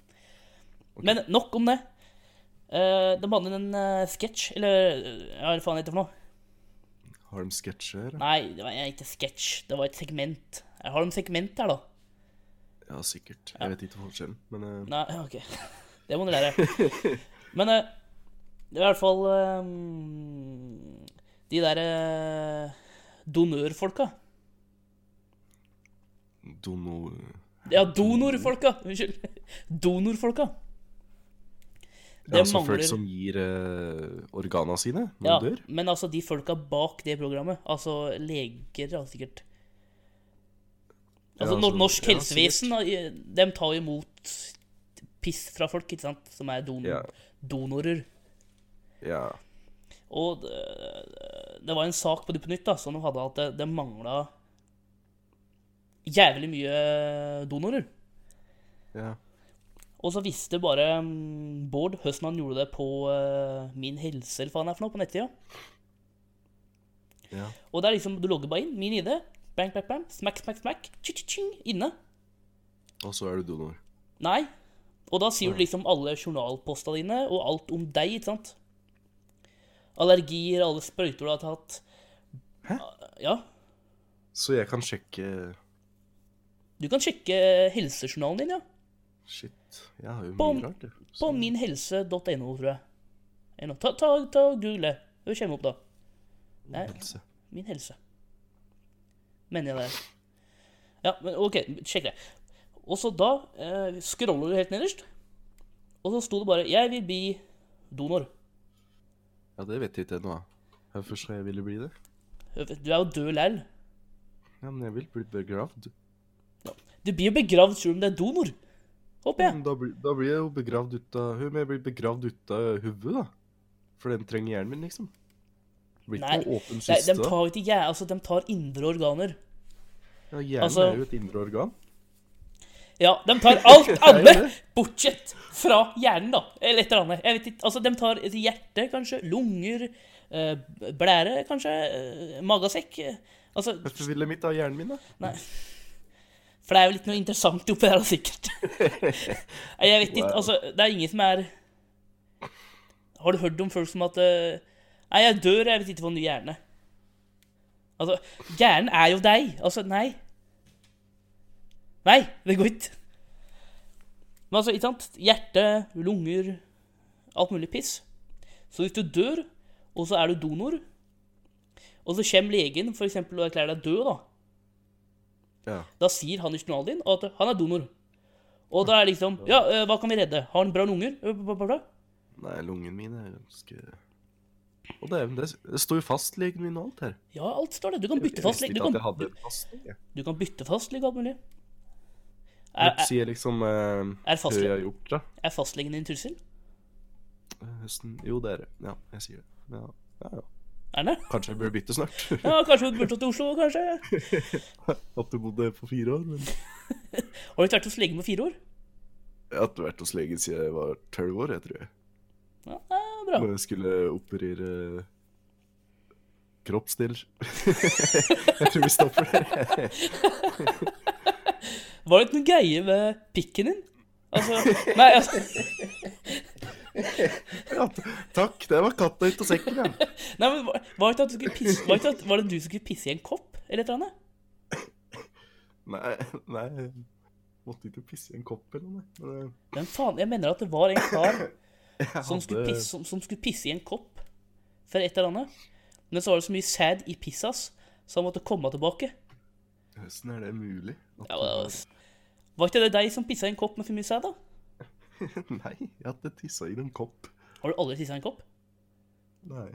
[SPEAKER 1] Men nok om det. Eh, de hadde en eh, sketsj, eller eh, ja, hva faen heter det for noe?
[SPEAKER 2] Har de sketsjer her? da?
[SPEAKER 1] Nei, det var ikke sketsj. Det var et segment. Har de segment her, da?
[SPEAKER 2] Ja, sikkert. Jeg vet ikke forskjellen, men eh,
[SPEAKER 1] Nei, ok. Det må du lære. Men eh, det er i hvert fall eh, De der eh, donørfolka.
[SPEAKER 2] Dono...
[SPEAKER 1] Ja, donorfolka! Unnskyld. Donorfolka.
[SPEAKER 2] Ja, altså
[SPEAKER 1] mangler-
[SPEAKER 2] folk som gir eh, organa sine når
[SPEAKER 1] Ja,
[SPEAKER 2] de dør?
[SPEAKER 1] men altså de folka bak det programmet. Altså leger, ja, sikkert. Altså
[SPEAKER 2] Ja,
[SPEAKER 1] nor-
[SPEAKER 2] altså,
[SPEAKER 1] Norsk
[SPEAKER 2] ja,
[SPEAKER 1] helsevesen, da, de tar jo imot piss fra folk, ikke sant, som er don
[SPEAKER 2] Ja.
[SPEAKER 1] donorer.
[SPEAKER 2] Ja.
[SPEAKER 1] Og øh, det var en sak på det på nytt da, som de hadde at det, det mangla jævlig mye donorer.
[SPEAKER 2] ja.
[SPEAKER 1] Og så visste bare mm, Bård hvordan han gjorde det på eh, Min helse, eller hva faen det er for noe, på nettsida.
[SPEAKER 2] Ja.
[SPEAKER 1] Og det er liksom, du logger bare inn. Min ID. Bang, bang, bang. Smack, smack, smack. Ching, ching, ching, inne.
[SPEAKER 2] Og så er du donor.
[SPEAKER 1] Nei. Og da sier du liksom alle journalpostene dine, og alt om deg, ikke sant? Allergier, alle sprøyter du har tatt.
[SPEAKER 2] Hæ?
[SPEAKER 1] Ja.
[SPEAKER 2] Så jeg kan sjekke
[SPEAKER 1] Du kan sjekke helsejournalen din, ja.
[SPEAKER 2] Shit. Jeg har jo
[SPEAKER 1] Bom.
[SPEAKER 2] mye rart, jeg.
[SPEAKER 1] På
[SPEAKER 2] Så-
[SPEAKER 1] minhelse.no, tror jeg. Eller noe. Ta, ta, ta og google. Det kommer opp, da. Nei.
[SPEAKER 2] Helse.
[SPEAKER 1] Min helse. Mener jeg det. Ja, men OK, sjekk det. Og så da eh, scroller du helt nederst, og så sto det bare 'Jeg vil bli donor'.
[SPEAKER 2] Ja, det vet jeg ikke ennå. Hvorfor skal jeg ville bli det?
[SPEAKER 1] Du er jo død lell.
[SPEAKER 2] Ja, men jeg vil bli begravd.
[SPEAKER 1] Du blir jo begravd selv om du er donor. Håper jeg.
[SPEAKER 2] Men da, blir, da blir jeg jo begravd ut av hun, men jeg blir begravd ut av hodet, da. For den trenger hjernen min, liksom. Det blir
[SPEAKER 1] Nei,
[SPEAKER 2] ikke noe åpen
[SPEAKER 1] Nei, de
[SPEAKER 2] kiste. da.
[SPEAKER 1] tar jo ikke jæ... Altså, de tar indre organer.
[SPEAKER 2] Ja, hjernen
[SPEAKER 1] altså-
[SPEAKER 2] er jo et indre organ.
[SPEAKER 1] Ja, de tar alt annet,
[SPEAKER 2] det.
[SPEAKER 1] bortsett fra hjernen, da. Eller et eller annet. Jeg vet ikke. Altså, de tar et hjerte, kanskje. Lunger. eh, Blære, kanskje. eh, Magasekk. eh, Altså,
[SPEAKER 2] Hvorfor ville mitt av hjernen min, da?
[SPEAKER 1] For det er jo litt noe interessant oppi der, sikkert. Nei, jeg vet ikke,
[SPEAKER 2] Wow.
[SPEAKER 1] altså, det er ingen som er Har du hørt om folk som at eh, Nei, jeg dør, jeg vet ikke hva ny hjerne. Altså, hjernen er jo deg. Altså, nei. Nei, det går ikke. Men altså, ikke sant? Hjerte, lunger, alt mulig piss. Så hvis du dør, og så er du donor, og så kommer legen for eksempel, og erklærer deg død, da.
[SPEAKER 2] Ja.
[SPEAKER 1] Da sier han i journalen din at han er donor. Og da er liksom Ja, eh, hva kan vi redde? Har han bra lunger? Eh, bla, bla, bla.
[SPEAKER 2] Nei, lungen min er ganske Å, dæven, det, det står jo fastlegen min og alt her.
[SPEAKER 1] Ja, alt står det. Du kan
[SPEAKER 2] Jeg
[SPEAKER 1] bytte
[SPEAKER 2] visste
[SPEAKER 1] fastlege.
[SPEAKER 2] ikke at jeg
[SPEAKER 1] Du,
[SPEAKER 2] hadde en fastlege.
[SPEAKER 1] kan- du kan bytte fastlege, alt mulig. Er,
[SPEAKER 2] Hva
[SPEAKER 1] er,
[SPEAKER 2] sier liksom eh,
[SPEAKER 1] er,
[SPEAKER 2] hva jeg
[SPEAKER 1] fastle,
[SPEAKER 2] har gjort, da?
[SPEAKER 1] er fastlegen din trussel?
[SPEAKER 2] Høsten. Jo, det er det. Ja, jeg sier det. Ja, ja, ja.
[SPEAKER 1] Er den det?
[SPEAKER 2] Kanskje jeg bør bytte snart.
[SPEAKER 1] Ja, kanskje hun burde tatt til Oslo, kanskje?
[SPEAKER 2] At du bodde på fire år, men
[SPEAKER 1] Har du ikke vært hos lege på fire år?
[SPEAKER 2] Jeg har ikke vært hos legen siden jeg var tolv år, jeg tror jeg.
[SPEAKER 1] Ja, det er bra.
[SPEAKER 2] Når jeg skulle operere kroppsdeler. jeg tror vi stopper der.
[SPEAKER 1] Var det ikke noe greie med pikken din? Altså Nei, altså,
[SPEAKER 2] Ja, t- takk, det var katta ut av sekken, ja.
[SPEAKER 1] nei men var, var, det ikke at du skulle pisse, var, det ikke at, var det du som skulle pisse i en kopp, eller et eller annet?
[SPEAKER 2] Nei, nei. jeg Måtte ikke pisse i en kopp eller noe. Men eh, jeg-
[SPEAKER 1] Men faen, jeg mener at det var en kar
[SPEAKER 2] jeg
[SPEAKER 1] som skulle,
[SPEAKER 2] hadde-
[SPEAKER 1] pisse, som, som skulle pisse i en kopp for et eller annet. Men så var det så mye sæd i pissas, så han måtte komme tilbake.
[SPEAKER 2] Hvordan er det mulig? At
[SPEAKER 1] Ja, det var- var ikke det deg som pissa i en kopp med for mye sæd, da?
[SPEAKER 2] Nei, jeg hadde tissa i en kopp.
[SPEAKER 1] Har du aldri tissa i en kopp?
[SPEAKER 2] Nei.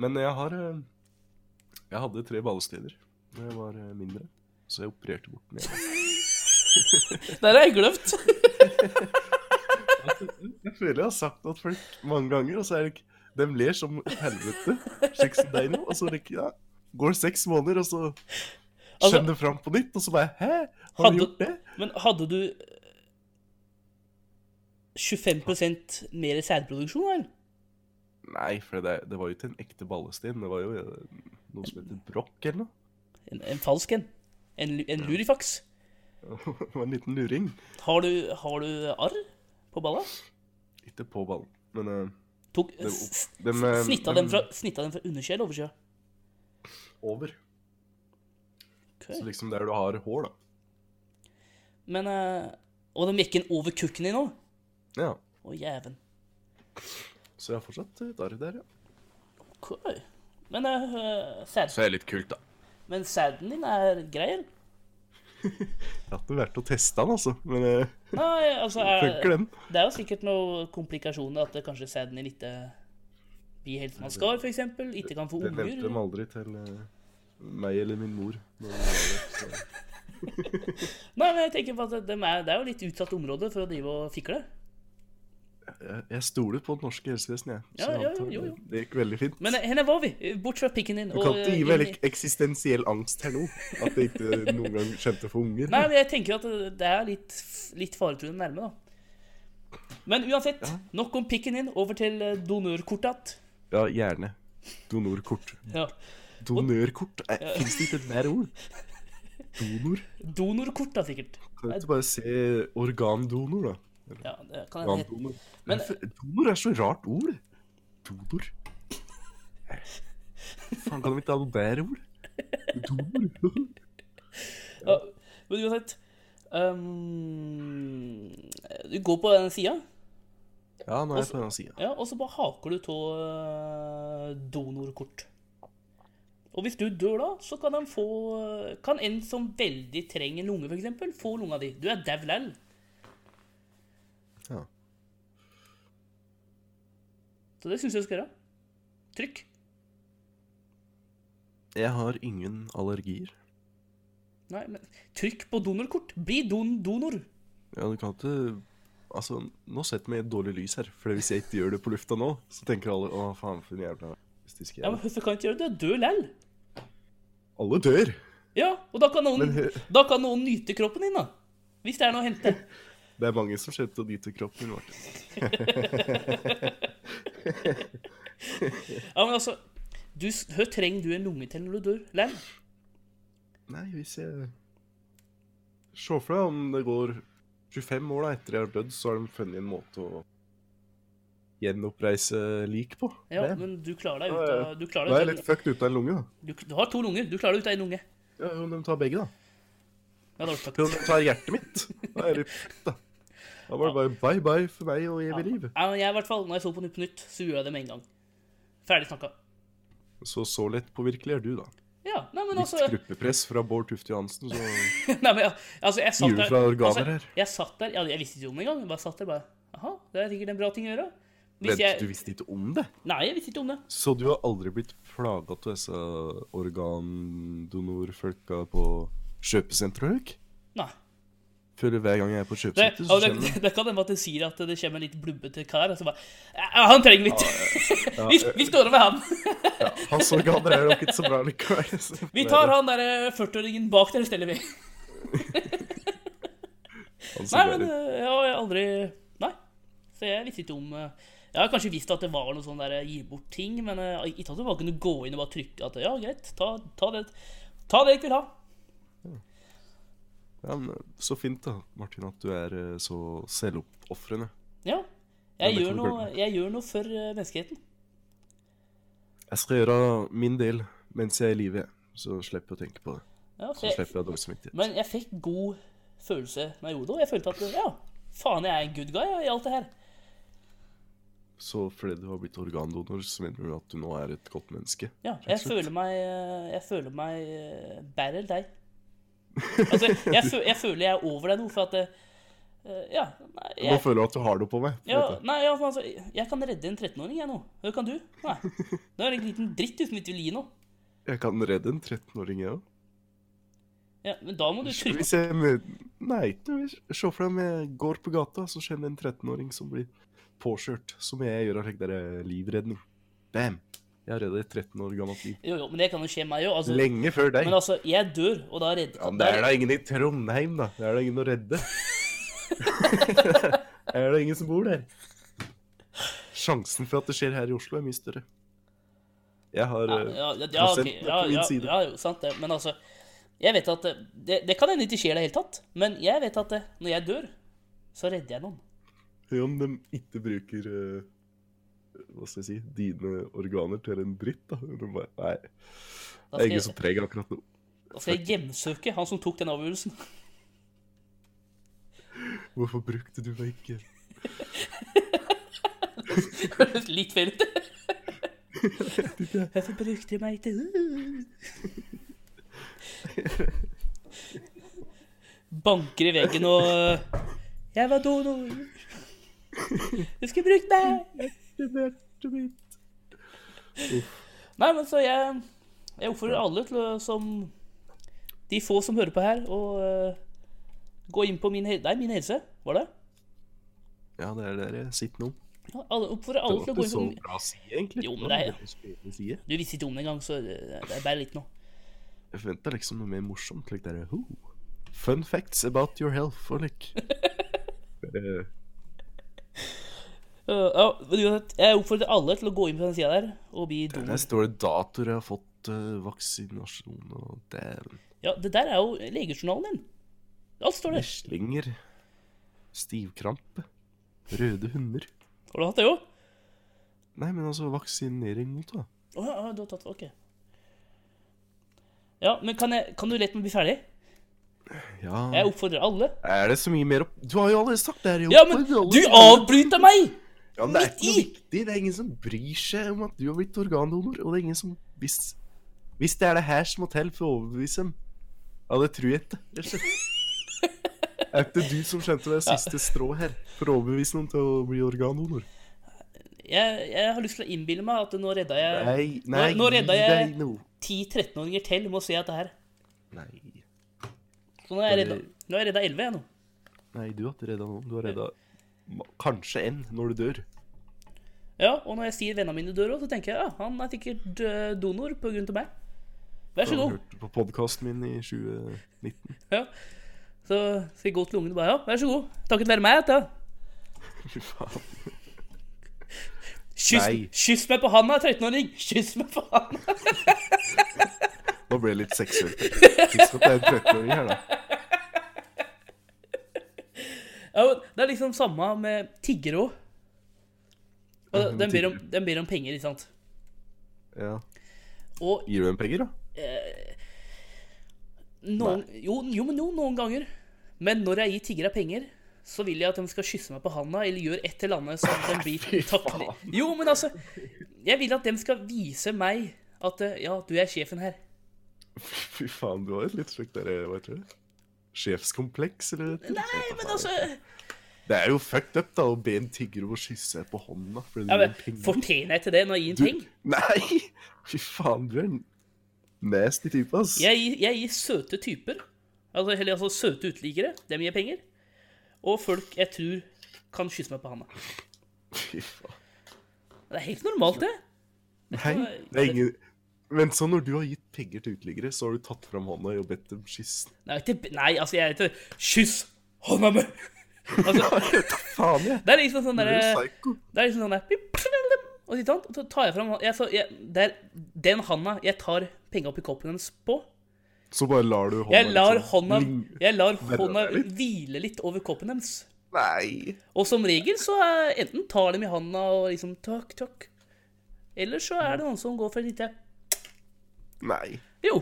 [SPEAKER 2] Men jeg har eh, Jeg hadde tre ballesteder da jeg var eh, mindre, så jeg opererte bort den ene.
[SPEAKER 1] Der har jeg glemt.
[SPEAKER 2] Jeg føler jeg har sagt noe til folk mange ganger, og så er det ikke De ler som helvete, slik som deg nå, og så er det ikke ja, Går seks måneder, og så
[SPEAKER 1] Altså-
[SPEAKER 2] kommer det fram på nytt, og så bare Hæ? Har
[SPEAKER 1] Hadde-
[SPEAKER 2] du gjort det?
[SPEAKER 1] Men hadde du eh, 25 mer sædproduksjon, eller?
[SPEAKER 2] Nei, for det, det var jo ikke en ekte ballesten. Det var jo eh, noe som heter brokk eller noe.
[SPEAKER 1] En, en falsk en? En, lu- en lurifaks?
[SPEAKER 2] Det var en liten luring.
[SPEAKER 1] Har du, har du arr på balla?
[SPEAKER 2] Ikke på ballen, men eh,
[SPEAKER 1] Tok,
[SPEAKER 2] det-
[SPEAKER 1] s- s-
[SPEAKER 2] dem, eh,
[SPEAKER 1] snitta
[SPEAKER 2] dem-
[SPEAKER 1] den fra, snitta den fra underskjell overskjell?
[SPEAKER 2] over.
[SPEAKER 1] Ok.
[SPEAKER 2] Så liksom der du har hår, da.
[SPEAKER 1] Men eh, Og de gikk inn over kukken din òg?
[SPEAKER 2] Ja.
[SPEAKER 1] Å, jæven.
[SPEAKER 2] Så jeg har fortsatt et arr der, ja.
[SPEAKER 1] Ok. Men, eh, sad,
[SPEAKER 2] Så det er litt kult, da.
[SPEAKER 1] men sæden din er grei, eller?
[SPEAKER 2] Jeg har ikke vært og testa den, altså. Men eh,
[SPEAKER 1] Nei, altså
[SPEAKER 2] funker
[SPEAKER 1] er,
[SPEAKER 2] den?
[SPEAKER 1] Det er jo sikkert noen komplikasjoner at det kanskje sæden din ikke blir helt som den skal, f.eks. Ikke kan få
[SPEAKER 2] Det nevnte de
[SPEAKER 1] unger.
[SPEAKER 2] aldri til eh, meg eller min mor. Når de var der, så.
[SPEAKER 1] Nei, men jeg tenker på at de er, det er jo litt utsatt område for å drive og fikle.
[SPEAKER 2] Jeg, jeg stoler på det norske helsevesenet, jeg.
[SPEAKER 1] Ja,
[SPEAKER 2] Så jeg
[SPEAKER 1] ja,
[SPEAKER 2] antar
[SPEAKER 1] jo, jo, jo.
[SPEAKER 2] Det gikk veldig fint.
[SPEAKER 1] Men eh, henne var vi? Bort fra pikken din. eh,
[SPEAKER 2] Du kan ikke gi meg
[SPEAKER 1] inn i-
[SPEAKER 2] like, eksistensiell angst her nå. At jeg ikke noen gang skjønte for unger.
[SPEAKER 1] Nei, men jeg tenker at det er litt, litt faretruende nærme, da. Men uansett, nok om pikken din. Over til eh, donorkortet.
[SPEAKER 2] Ja, gjerne. Donorkort.
[SPEAKER 1] Ja.
[SPEAKER 2] Donørkort? Ja. Fins det ikke et mer ord? Donor?
[SPEAKER 1] Donorkort, da, sikkert.
[SPEAKER 2] Kan du ikke bare se organdonor, da?
[SPEAKER 1] Ja, det kan jeg hete.
[SPEAKER 2] Organdonor.
[SPEAKER 1] Men-
[SPEAKER 2] Hvorfor- donor er så rart ord. Donor. Faen, kan de ikke ha noe bedre ord? Donor.
[SPEAKER 1] Ja. Men uansett ehm, Du går på den sida,
[SPEAKER 2] Ja, nå er jeg på den sida.
[SPEAKER 1] ja, og så bare haker du av donorkort. Og hvis du dør da, så kan han få Kan en som veldig trenger lunge, f.eks., få lunga di. Du er dau lell.
[SPEAKER 2] Ja.
[SPEAKER 1] Så det syns jeg du skal gjøre. Trykk.
[SPEAKER 2] Jeg har ingen allergier.
[SPEAKER 1] Nei, men trykk på donorkort. Bli don donor.
[SPEAKER 2] Ja, du kan ikke Altså, nå setter vi et dårlig lys her. For hvis jeg ikke gjør det på lufta nå, så tenker alle å, faen, for en jævla mystisk
[SPEAKER 1] Ja,
[SPEAKER 2] jævel.
[SPEAKER 1] men Hvorfor kan jeg ikke gjøre det? Dø lell.
[SPEAKER 2] Alle dør!
[SPEAKER 1] Ja, og da kan, noen,
[SPEAKER 2] Men hø-
[SPEAKER 1] da kan noen nyte kroppen din, da. Hvis det er noe å hente.
[SPEAKER 2] Det er mange som slipper å nyte kroppen min, Martin.
[SPEAKER 1] Ja, men altså, du, s- hør, trenger du en lunge til når du dør? Lell?
[SPEAKER 2] Nei, hvis jeg Se for deg om det går 25 år da, etter jeg har dødd, så har de funnet en måte å gjenoppreise lik på.
[SPEAKER 1] Ja,
[SPEAKER 2] det.
[SPEAKER 1] men du klarer deg ut
[SPEAKER 2] Ja, ja.
[SPEAKER 1] av Du, klarer
[SPEAKER 2] Da er jeg
[SPEAKER 1] deg
[SPEAKER 2] litt
[SPEAKER 1] ut av,
[SPEAKER 2] fucked uten en lunge, da.
[SPEAKER 1] du, du har to lunger. Du klarer deg ut av en lunge.
[SPEAKER 2] Ja, Om de tar begge, da.
[SPEAKER 1] Ja, da har du sagt.
[SPEAKER 2] Til om de tar hjertet mitt. Da er jeg litt fucked, da. Da var det bare bye bye for meg og evig liv.
[SPEAKER 1] Ja, men jeg, i hvert fall, når jeg så på Nytt på Nytt, så gjorde jeg det med en gang. Ferdig snakka.
[SPEAKER 2] Så så lett påvirkelig er du, da.
[SPEAKER 1] Ja, nei, men
[SPEAKER 2] Litt
[SPEAKER 1] altså
[SPEAKER 2] gruppepress fra Bård Tufte Johansen, så
[SPEAKER 1] Nei, men ja, altså, jeg satt
[SPEAKER 2] Gir du
[SPEAKER 1] der
[SPEAKER 2] fra organer
[SPEAKER 1] altså,
[SPEAKER 2] her?
[SPEAKER 1] Jeg satt der, ja, jeg visste ikke om det engang. Jeg bare satt der bare Aha, det er sikkert en bra ting å gjøre. Hvis
[SPEAKER 2] Vent, du
[SPEAKER 1] jeg
[SPEAKER 2] visste ikke om det?
[SPEAKER 1] Nei, jeg visste ikke om det.
[SPEAKER 2] Så du har aldri blitt plaga av disse organdonorfolka på kjøpesenteret? og høyk?
[SPEAKER 1] Nei.
[SPEAKER 2] Føler hver gang jeg er på
[SPEAKER 1] Det,
[SPEAKER 2] kjøpesenter, så
[SPEAKER 1] og det,
[SPEAKER 2] kjenner jeg
[SPEAKER 1] det kan hende at det sier at det kommer en litt blubbete kar, og så bare Ja, han trenger litt. vi, vi står over han.
[SPEAKER 2] Hans organer er nok ikke så bra likevel. så-
[SPEAKER 1] Vi tar han der eh, 40-åringen bak der, steller vi.
[SPEAKER 2] Han som
[SPEAKER 1] Nei,
[SPEAKER 2] er
[SPEAKER 1] men
[SPEAKER 2] litt-
[SPEAKER 1] eh, jeg har aldri Nei. Så jeg visste ikke om eh, Jeg har kanskje visst at det var noe sånn der eh, gi bort ting, men eh, ikke at du bare kunne gå inn og bare trykke at ja, greit, ta, ta det Ta det jeg vil ha.
[SPEAKER 2] ja, men Så fint, da, Martin, at du er eh, så selvofrende.
[SPEAKER 1] Ja.
[SPEAKER 2] Ja,
[SPEAKER 1] Jeg
[SPEAKER 2] det
[SPEAKER 1] gjør,
[SPEAKER 2] kan du
[SPEAKER 1] noe,
[SPEAKER 2] gjøre.
[SPEAKER 1] jeg gjør noe for eh, menneskeheten.
[SPEAKER 2] Jeg skal gjøre min del mens jeg er i live, så slipper jeg å tenke på det.
[SPEAKER 1] Ja,
[SPEAKER 2] Så
[SPEAKER 1] så jeg,
[SPEAKER 2] slipper jeg dårlig samvittighet.
[SPEAKER 1] men jeg fikk god følelse når jeg gjorde det, og jeg følte at ja, faen, jeg er en good guy jeg, i alt det her.
[SPEAKER 2] Så fordi du har blitt organdonor, så mener du at du nå er et godt menneske?
[SPEAKER 1] Ja, jeg føler meg Jeg føler meg eh, bedre enn deg. Altså, jeg, fø- jeg føler jeg er over deg nå, for at eh, Ja. Nei,
[SPEAKER 2] Nå
[SPEAKER 1] jeg,
[SPEAKER 2] føler du at du har det på meg. for
[SPEAKER 1] ja,
[SPEAKER 2] dette.
[SPEAKER 1] nei, ja for altså, jeg kan redde en 13-åring, jeg nå. Det kan du? Nei. Det er en liten dritt uten ikke vil gi noe.
[SPEAKER 2] Jeg kan redde en 13-åring, jeg òg.
[SPEAKER 1] Ja, men da må du trykke
[SPEAKER 2] Hvis jeg møter Nei, ikke noe. se for deg om jeg går på gata, så kjenner jeg en 13-åring som blir påkjørt. Som jeg gjør av slik der eh, livredning. Bam! Jeg har redda et 13 år gammelt liv.
[SPEAKER 1] Jo, jo, men det kan jo skje meg òg. Altså,
[SPEAKER 2] Lenge før deg.
[SPEAKER 1] men altså, jeg dør, og da redder
[SPEAKER 2] Ja, men det er da ingen i Trondheim, da. Det er da ingen å redde. er det ingen som bor der? Sjansen for at det skjer her i Oslo, er mye større. Jeg har eh,
[SPEAKER 1] Ja, ja, ja, ok.
[SPEAKER 2] prosenten er
[SPEAKER 1] ja,
[SPEAKER 2] på min
[SPEAKER 1] ja,
[SPEAKER 2] side.
[SPEAKER 1] ja, jo, sant det. Men altså jeg vet at eh, Det, det kan hende ikke skjer i det hele tatt, men jeg vet at eh, når jeg dør, så redder jeg noen.
[SPEAKER 2] Hør om de ikke bruker eh, Hva skal jeg si Dine organer til en dritt, da. De bare, nei.
[SPEAKER 1] Da
[SPEAKER 2] Det er
[SPEAKER 1] skal,
[SPEAKER 2] ingen
[SPEAKER 1] jeg,
[SPEAKER 2] som trenger akkurat nå.
[SPEAKER 1] da skal jeg hjemsøke han som tok den avgjørelsen.
[SPEAKER 2] Hvorfor brukte du meg ikke?
[SPEAKER 1] Høres Litt feil ut.
[SPEAKER 2] Ikke?
[SPEAKER 1] Hvorfor brukte du meg til Banker i veggen og eh, Jeg var donor. Du skulle brukt meg.
[SPEAKER 2] Det er hjertet mitt.
[SPEAKER 1] Nei, men så jeg, jeg oppfordrer alle til å som De få som hører på her, å eh, gå inn på min, hel- nei, min helse. Var det?
[SPEAKER 2] Ja, det er der jeg sitter nå. Det
[SPEAKER 1] Ja, alle- Oppfordrer alle til å
[SPEAKER 2] var
[SPEAKER 1] gå
[SPEAKER 2] ikke så
[SPEAKER 1] inn på
[SPEAKER 2] bra å si, egentlig.
[SPEAKER 1] Jo, men
[SPEAKER 2] Det var
[SPEAKER 1] det er-
[SPEAKER 2] en veldig spennende side.
[SPEAKER 1] Du visste ikke om det engang, så det det er bare litt nå.
[SPEAKER 2] Jeg forventa liksom noe mer morsomt. Like der, «Ho, Fun facts about your health og like Eh,
[SPEAKER 1] Eh, ja, men uansett, jeg oppfordrer alle til å gå inn på den sida der og bli
[SPEAKER 2] Der
[SPEAKER 1] donor.
[SPEAKER 2] står det datoer jeg har fått eh, vaksinasjon og dæven.
[SPEAKER 1] Ja, det der er jo legejournalen din. Alt står der.
[SPEAKER 2] Meslinger. Stivkrampe. Røde hunder.
[SPEAKER 1] Har du hatt det òg?
[SPEAKER 2] Nei, men altså vaksinering mot, da.
[SPEAKER 1] Å ja, ja, du har tatt OK. Ja, men kan, jeg, kan du lete meg bli ferdig?
[SPEAKER 2] Ja
[SPEAKER 1] Jeg oppfordrer alle.
[SPEAKER 2] Er det så mye mer opp... Du har jo allerede sagt det her. jo.
[SPEAKER 1] Ja, men
[SPEAKER 2] Alle-
[SPEAKER 1] du avbryter meg!
[SPEAKER 2] Ja, men det er
[SPEAKER 1] midt
[SPEAKER 2] ikke noe
[SPEAKER 1] i!
[SPEAKER 2] viktig. Det er ingen som bryr seg om at du har blitt organdonor. Og det er ingen som Hvis, hvis det er det her som må til for å overbevise dem Ja, det tror jeg ikke. rett og slett. Er ikke det du som kjente det siste strå her for å overbevise noen til å bli organdonor?
[SPEAKER 1] Jeg, jeg har lyst til å innbille meg at nå redda jeg
[SPEAKER 2] Nei, nei,
[SPEAKER 1] nå redda
[SPEAKER 2] gi
[SPEAKER 1] jeg-
[SPEAKER 2] deg noe.
[SPEAKER 1] 10-13-åringer til med å se dette her.
[SPEAKER 2] Nei.
[SPEAKER 1] Så nå er jeg redda, nå er jeg redda 11, jeg nå.
[SPEAKER 2] nei, du har ikke redda noen. Du har redda ma- kanskje en når du dør.
[SPEAKER 1] Ja, og når jeg sier vennene mine dør òg, så tenker jeg ja, han er sikkert eh, donor på grunn av meg. Vær
[SPEAKER 2] Du
[SPEAKER 1] så
[SPEAKER 2] har
[SPEAKER 1] god.
[SPEAKER 2] hørt på podkasten min i 2019.
[SPEAKER 1] Ja. Så skal jeg gå til ungene og bare ja, vær så god. Takket være meg, dette.
[SPEAKER 2] Fy faen.
[SPEAKER 1] Kyss,
[SPEAKER 2] Nei.
[SPEAKER 1] kyss meg på handa, 13-åring! Kyss meg på handa!
[SPEAKER 2] Nå ble jeg litt seksuell. Husk at det er en 13-åring her, da.
[SPEAKER 1] Ja, men det er liksom samme med tiggere òg.
[SPEAKER 2] Ja,
[SPEAKER 1] Og
[SPEAKER 2] med
[SPEAKER 1] de ber, om,
[SPEAKER 2] tiggere.
[SPEAKER 1] de ber om penger, ikke sant.
[SPEAKER 2] Ja.
[SPEAKER 1] Og
[SPEAKER 2] Gir du dem penger, da?
[SPEAKER 1] noen, jo, jo, men jo, noen ganger. Men når jeg gir tiggere penger, så vil jeg at de skal kysse meg på handa eller gjøre et eller annet sånn at de blir takknemlig. Jo, men altså Jeg vil at de skal vise meg at eh, ja, du er sjefen her.
[SPEAKER 2] Fy faen, du har et litt slikt derre, hva heter det? Sjefskompleks, eller? et eller annet?
[SPEAKER 1] Nei, men altså
[SPEAKER 2] Det er jo fucked up, da, å be en tigger om å kysse deg på hånda fordi du
[SPEAKER 1] ja,
[SPEAKER 2] gir
[SPEAKER 1] men,
[SPEAKER 2] en penger.
[SPEAKER 1] Fortjener jeg til det når jeg gir en peng?
[SPEAKER 2] Du- Nei! Fy faen, du er en nasty type, ass.
[SPEAKER 1] Jeg, gir- jeg gir søte typer, altså, eller altså søte uteliggere, dem gir jeg penger. Og folk jeg tror kan kysse meg på handa.
[SPEAKER 2] Fy faen.
[SPEAKER 1] Det er helt normalt, det.
[SPEAKER 2] Nei, det er ingen Men så når du har gitt penger til uteliggere, så har du tatt fram hånda og bedt dem kysse
[SPEAKER 1] Nei, ikke, nei altså, jeg er ikke Kyss hånda mi! Altså,
[SPEAKER 2] Faen, jeg!
[SPEAKER 1] det er liksom sånn
[SPEAKER 2] Du er jo
[SPEAKER 1] derre
[SPEAKER 2] psycho.
[SPEAKER 1] Det er liksom sånn der pip, pip, Og sitt sånn, og så tar jeg fram jeg, så, jeg, Det er den handa jeg tar penga oppi koppen hennes på.
[SPEAKER 2] Så bare lar du hånda
[SPEAKER 1] Jeg lar
[SPEAKER 2] liksom
[SPEAKER 1] hånda,
[SPEAKER 2] ling-
[SPEAKER 1] jeg lar
[SPEAKER 2] Være
[SPEAKER 1] hånda
[SPEAKER 2] der litt.
[SPEAKER 1] hvile litt over koppen hennes.
[SPEAKER 2] Nei!
[SPEAKER 1] Og som regel så er, enten tar de i handa og liksom takk, takk. Eller så er det noen som går for en liten
[SPEAKER 2] Nei.
[SPEAKER 1] Jo,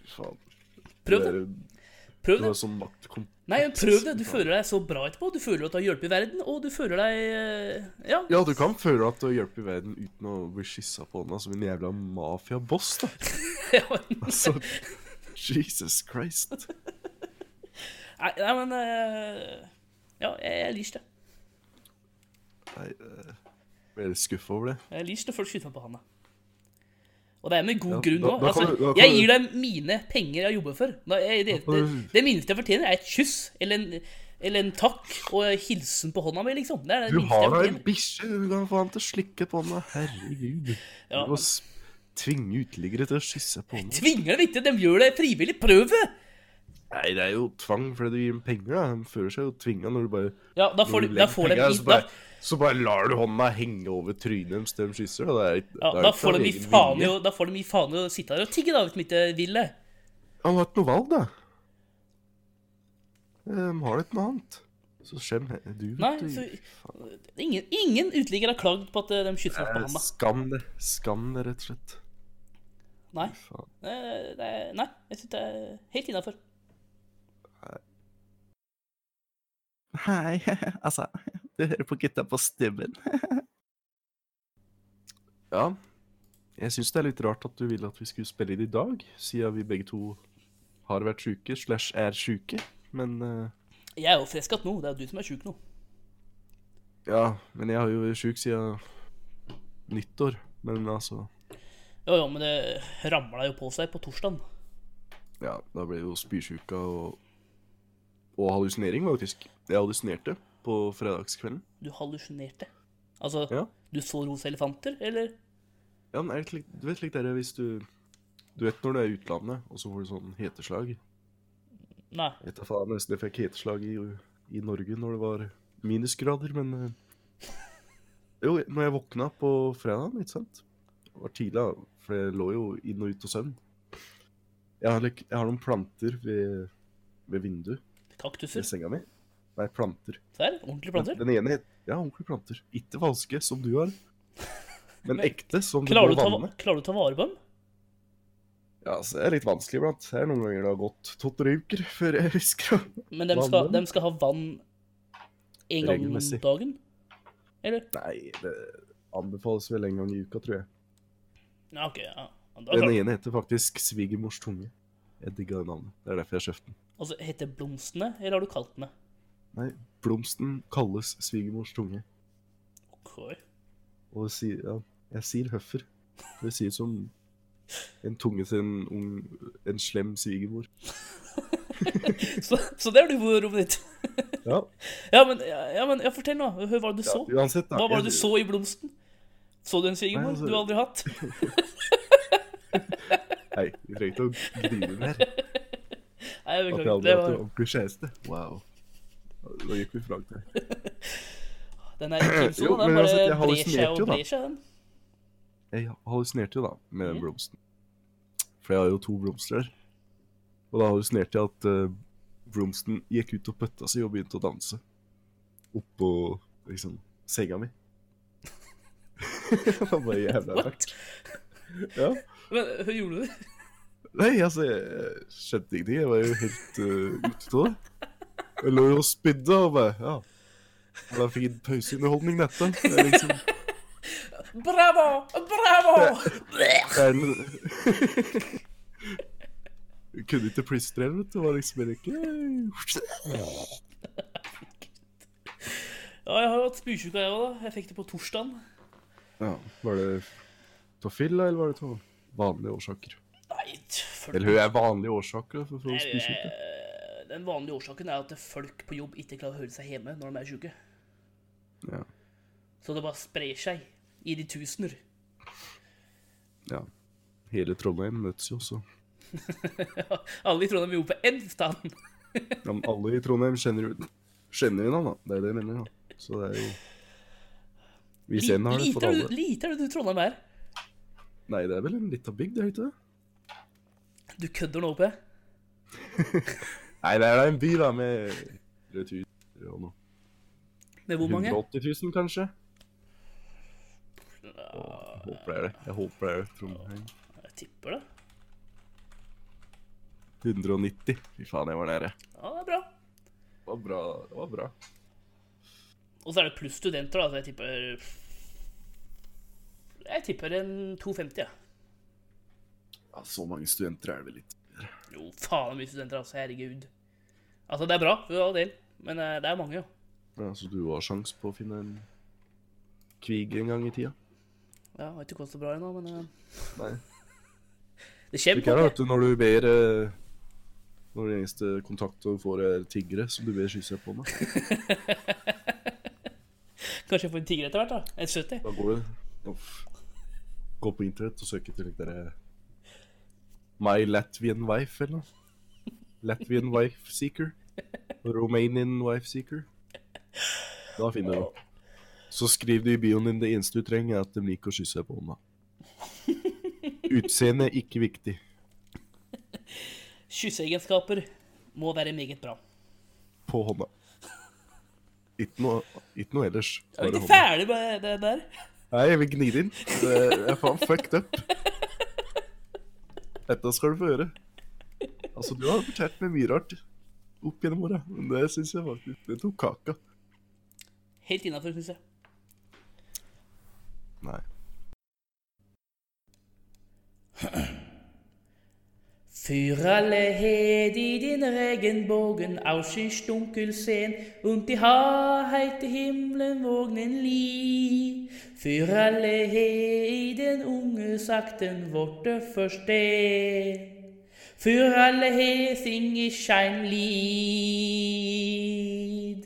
[SPEAKER 2] Fy faen.
[SPEAKER 1] prøv
[SPEAKER 2] Du
[SPEAKER 1] det.
[SPEAKER 2] er-
[SPEAKER 1] Prøv
[SPEAKER 2] Du
[SPEAKER 1] det.
[SPEAKER 2] har sånn maktkom...
[SPEAKER 1] Nei, men prøv det. Du føler deg så bra etterpå. Du føler at du har hjulpet verden, og du føler deg eh, Ja.
[SPEAKER 2] Ja, du kan føle at du hjelper verden uten å bli kyssa på hånda som en jævla mafiaboss, da.
[SPEAKER 1] Nei,
[SPEAKER 2] Altså, Jesus Christ.
[SPEAKER 1] nei, men eh, Ja, jeg, jeg liker det.
[SPEAKER 2] Nei, eh, jeg er litt skuffa over det.
[SPEAKER 1] Jeg liker det før du skyter meg på handa. Og det er med god
[SPEAKER 2] Ja,
[SPEAKER 1] grunn
[SPEAKER 2] da-
[SPEAKER 1] òg.
[SPEAKER 2] da kan
[SPEAKER 1] Altså,
[SPEAKER 2] du- da kan
[SPEAKER 1] jeg
[SPEAKER 2] du-
[SPEAKER 1] gir deg mine penger jeg har jobbet for. Da, jeg, det,
[SPEAKER 2] Da
[SPEAKER 1] det,
[SPEAKER 2] kan du-
[SPEAKER 1] det minste jeg fortjener, er et kyss eller en, eller en takk og en hilsen på hånda mi, liksom. Det er det
[SPEAKER 2] Du
[SPEAKER 1] minste
[SPEAKER 2] har
[SPEAKER 1] jeg
[SPEAKER 2] da en
[SPEAKER 1] fortjener.
[SPEAKER 2] bikkje, du kan få han til å slikke på hånda. Herregud. Du
[SPEAKER 1] Ja.
[SPEAKER 2] må s- tvinge uteliggere til å kysse på hånda.
[SPEAKER 1] Tvinger dem ikke, de gjør det frivillig. Prøv det!
[SPEAKER 2] Nei, det er jo tvang fordi du gir dem penger, da. De føler seg jo tvinga når du bare
[SPEAKER 1] Ja, da
[SPEAKER 2] når
[SPEAKER 1] får de,
[SPEAKER 2] du
[SPEAKER 1] da
[SPEAKER 2] legger
[SPEAKER 1] får de,
[SPEAKER 2] penger,
[SPEAKER 1] i-
[SPEAKER 2] så,
[SPEAKER 1] da,
[SPEAKER 2] bare, så bare lar du hånda henge over trynet deres til de kysser. Da, det er,
[SPEAKER 1] ja,
[SPEAKER 2] det er
[SPEAKER 1] da
[SPEAKER 2] ikke
[SPEAKER 1] får
[SPEAKER 2] av
[SPEAKER 1] de i
[SPEAKER 2] egen
[SPEAKER 1] faen i
[SPEAKER 2] vilje.
[SPEAKER 1] å- da får de i faen i å sitte der og tigge, da, hvis de ikke vil det.
[SPEAKER 2] Han har ikke noe valg, da. De har ikke noe annet. Så skjem he- du, vet
[SPEAKER 1] Nei,
[SPEAKER 2] du.
[SPEAKER 1] så,
[SPEAKER 2] Faen,
[SPEAKER 1] ingen, ingen uteligger har klagd på at eh, de kysser meg på
[SPEAKER 2] eh,
[SPEAKER 1] handa.
[SPEAKER 2] Skam det. Skam det, rett og slett.
[SPEAKER 1] Nei.
[SPEAKER 2] Faen.
[SPEAKER 1] Eh, det er, nei, jeg syns det er helt innafor.
[SPEAKER 2] Hei, altså Du hører på gutta på stemmen. ja. Jeg syns det er litt rart at du ville at vi skulle spille inn i dag, siden vi begge to har vært sjuke slash er sjuke. Men eh,
[SPEAKER 1] Jeg er jo frisk igjen nå. Det er jo du som er sjuk nå.
[SPEAKER 2] Ja, men jeg har jo vært sjuk siden nyttår. Men altså
[SPEAKER 1] Jo, jo, men det ramla jo på seg på torsdag.
[SPEAKER 2] Ja, da ble det jo spysjuka og Og hallusinering, faktisk. Jeg hallusinerte på fredagskvelden.
[SPEAKER 1] Du hallusinerte. Altså,
[SPEAKER 2] Ja.
[SPEAKER 1] du så rosa elefanter, eller?
[SPEAKER 2] Ja, men er det slik, du vet slik det er hvis du Du vet når du er i utlandet, og så får du sånn heteslag.
[SPEAKER 1] Nei.
[SPEAKER 2] Jeg vet da faen, nesten jeg fikk heteslag i, i Norge når det var minusgrader, men eh, Jo, når jeg våkna på fredagen, ikke sant Det var tidlig, da, for jeg lå jo inn og ut av søvn. Jeg har, lik- jeg har noen planter ved, ved vinduet ved
[SPEAKER 1] Kaktuser.
[SPEAKER 2] senga mi. Nei, planter.
[SPEAKER 1] Der. Ordentlige planter.
[SPEAKER 2] Den ene het Ja, ordentlige planter. Ikke falske, som du har. Men
[SPEAKER 1] Men
[SPEAKER 2] ekte, som du må
[SPEAKER 1] Klarer du, å ta,
[SPEAKER 2] vanne.
[SPEAKER 1] klarer du å ta vare på dem?
[SPEAKER 2] Ja, så det er litt vanskelig iblant. Det er noen ganger det har gått to-tre uker før jeg husker å
[SPEAKER 1] Men de
[SPEAKER 2] Vanne
[SPEAKER 1] skal,
[SPEAKER 2] dem?
[SPEAKER 1] dem skal ha vann en gang om
[SPEAKER 2] Regelmessig.
[SPEAKER 1] dagen? Eller?
[SPEAKER 2] Nei, det anbefales vel en gang i uka, tror jeg.
[SPEAKER 1] Ja, OK. Ja. Da
[SPEAKER 2] Den
[SPEAKER 1] klarer. du.
[SPEAKER 2] ene heter faktisk Svigermors tunge. Jeg digga det navnet. Det er derfor jeg kjøpte den.
[SPEAKER 1] Altså, Heter det blomstene, eller har du kalt den det?
[SPEAKER 2] Nei, blomsten kalles svigermors tunge.
[SPEAKER 1] Ok.
[SPEAKER 2] Og det sier, ja, jeg sier høffer. Det sier som en tunge til en, ung, en slem svigermor.
[SPEAKER 1] Så, så det er du på rommet ditt.
[SPEAKER 2] Ja,
[SPEAKER 1] Ja, men, ja, ja, men ja, fortell nå. Hør hva du
[SPEAKER 2] ja,
[SPEAKER 1] så.
[SPEAKER 2] uansett, da.
[SPEAKER 1] Hva var
[SPEAKER 2] jeg-
[SPEAKER 1] det du så i blomsten? Så du en
[SPEAKER 2] Nei,
[SPEAKER 1] svigermor
[SPEAKER 2] altså-
[SPEAKER 1] du har aldri hatt?
[SPEAKER 2] Nei, vi trenger ikke å grine mer. At
[SPEAKER 1] Nei, jeg
[SPEAKER 2] jeg
[SPEAKER 1] beklager.
[SPEAKER 2] aldri
[SPEAKER 1] Det
[SPEAKER 2] har hatt en
[SPEAKER 1] var,
[SPEAKER 2] ordentlig kjæreste. Wow. Da gikk vi fra hverandre.
[SPEAKER 1] den er intim
[SPEAKER 2] Jo,
[SPEAKER 1] sånn. Den
[SPEAKER 2] men
[SPEAKER 1] bare
[SPEAKER 2] altså, jeg
[SPEAKER 1] brer
[SPEAKER 2] hallusinerte
[SPEAKER 1] seg
[SPEAKER 2] jo
[SPEAKER 1] og
[SPEAKER 2] da.
[SPEAKER 1] brer seg, den.
[SPEAKER 2] Jeg hallusinerte jo da med den
[SPEAKER 1] Mhm.
[SPEAKER 2] blomsten. For jeg har jo to blomster her. Og da hallusinerte jeg at eh, blomsten gikk ut og pøtta seg og begynte å danse. Oppå liksom senga mi. det var bare jævla rart.
[SPEAKER 1] What?
[SPEAKER 2] Ja.
[SPEAKER 1] Men hva gjorde du? det?
[SPEAKER 2] Nei, altså, jeg skjønte ingenting. Jeg var jo helt eh, ute av det. Jeg lå jo og spydde og bare Ja. Og Da fikk jeg pauseunderholdning, dette. Det er liksom
[SPEAKER 1] Bravo! Bravo!
[SPEAKER 2] Det er en... Hun kunne ikke plystre heller, vet du. Det Var liksom bare ikke
[SPEAKER 1] Ja, jeg har jo hatt spysjuka, jeg òg. Jeg fikk det på torsdagen.
[SPEAKER 2] ja, Var det av fylla, eller var det av vanlige årsaker?
[SPEAKER 1] Nei, t- folk-
[SPEAKER 2] Eller hun er vanlige årsaker for, for å
[SPEAKER 1] Nei,
[SPEAKER 2] spise ut. det.
[SPEAKER 1] eh, Den vanlige årsaken er at folk på jobb ikke klarer å høre seg hjemme når de er sjuke.
[SPEAKER 2] Ja.
[SPEAKER 1] Så det bare sprer seg i de tusener.
[SPEAKER 2] ja. Hele Trondheim møtes jo også.
[SPEAKER 1] Alle i Trondheim gjorde på én stand.
[SPEAKER 2] Ja, men alle i Trondheim kjenner jo Kjenner jo henne, da. Det er det jeg mener, da. Så det er jo Hvis en har det,
[SPEAKER 1] Lite
[SPEAKER 2] får
[SPEAKER 1] er det-
[SPEAKER 2] alle.
[SPEAKER 1] lite er det du Trondheim er.
[SPEAKER 2] Nei, det er vel en lita bygd, er det ikke det?
[SPEAKER 1] Du kødder nå, P.
[SPEAKER 2] Nei, det er da en by, da, med 100 000 og noe.
[SPEAKER 1] Med hvor mange?
[SPEAKER 2] 180 000, kanskje?
[SPEAKER 1] Ja,
[SPEAKER 2] Jeg håper det er det. Jeg håper det er det. Trondheim.
[SPEAKER 1] jeg tipper det.
[SPEAKER 2] 190. Fy faen, jeg var nære.
[SPEAKER 1] Ja, det er bra.
[SPEAKER 2] Det var bra. Det var bra.
[SPEAKER 1] Og så er det pluss studenter, da. Så jeg tipper Jeg tipper en 250, jeg. Ja.
[SPEAKER 2] Ja, så mange studenter er det vel ikke.
[SPEAKER 1] Jo, faen mye studenter, altså. Herregud. Altså, det er bra, for all del, men eh, det er mange, jo.
[SPEAKER 2] Ja, så du har sjans på å finne en kvig en gang i tida?
[SPEAKER 1] Ja, jeg vet ikke hva så bra ennå, men eh,
[SPEAKER 2] Nei.
[SPEAKER 1] det
[SPEAKER 2] Du
[SPEAKER 1] kommer.
[SPEAKER 2] kan
[SPEAKER 1] på.
[SPEAKER 2] vet du, når du ber eh, Når den eneste kontakten du får, er tiggere, som du ber kysse på meg.
[SPEAKER 1] Kanskje jeg får en tiger etter hvert, da. En 70.
[SPEAKER 2] Da går du Uff. Gå på internett og søk etter dere My Latvian wife, eller noe. Latvian wife seeker. Romanian wife seeker. Da finner du det. Så skriv du i bioen din det eneste du trenger, er at de liker å kysse deg på hånda. Utseende er ikke viktig.
[SPEAKER 1] Kysseegenskaper må være meget bra.
[SPEAKER 2] På hånda. Ikke noe, ikke noe ellers.
[SPEAKER 1] Er vi
[SPEAKER 2] Bare
[SPEAKER 1] ikke
[SPEAKER 2] hånda.
[SPEAKER 1] ferdig med det der?
[SPEAKER 2] Nei, jeg vil gni det inn. Det er faen fucked up. Dette skal du få høre. Altså, du har fortalt meg mye rart opp gjennom åra, men det syns jeg faktisk Det tok kaka.
[SPEAKER 1] Helt innafor, syns jeg.
[SPEAKER 2] Nei.
[SPEAKER 1] Für alle Hedi, den Regenbogen aus sich dunkel sehen und die Wahrheit der Himmel wogen li. Für alle Hedi, den ungesagten Worte verstehen. Für alle Hedi sing ich ein Lied.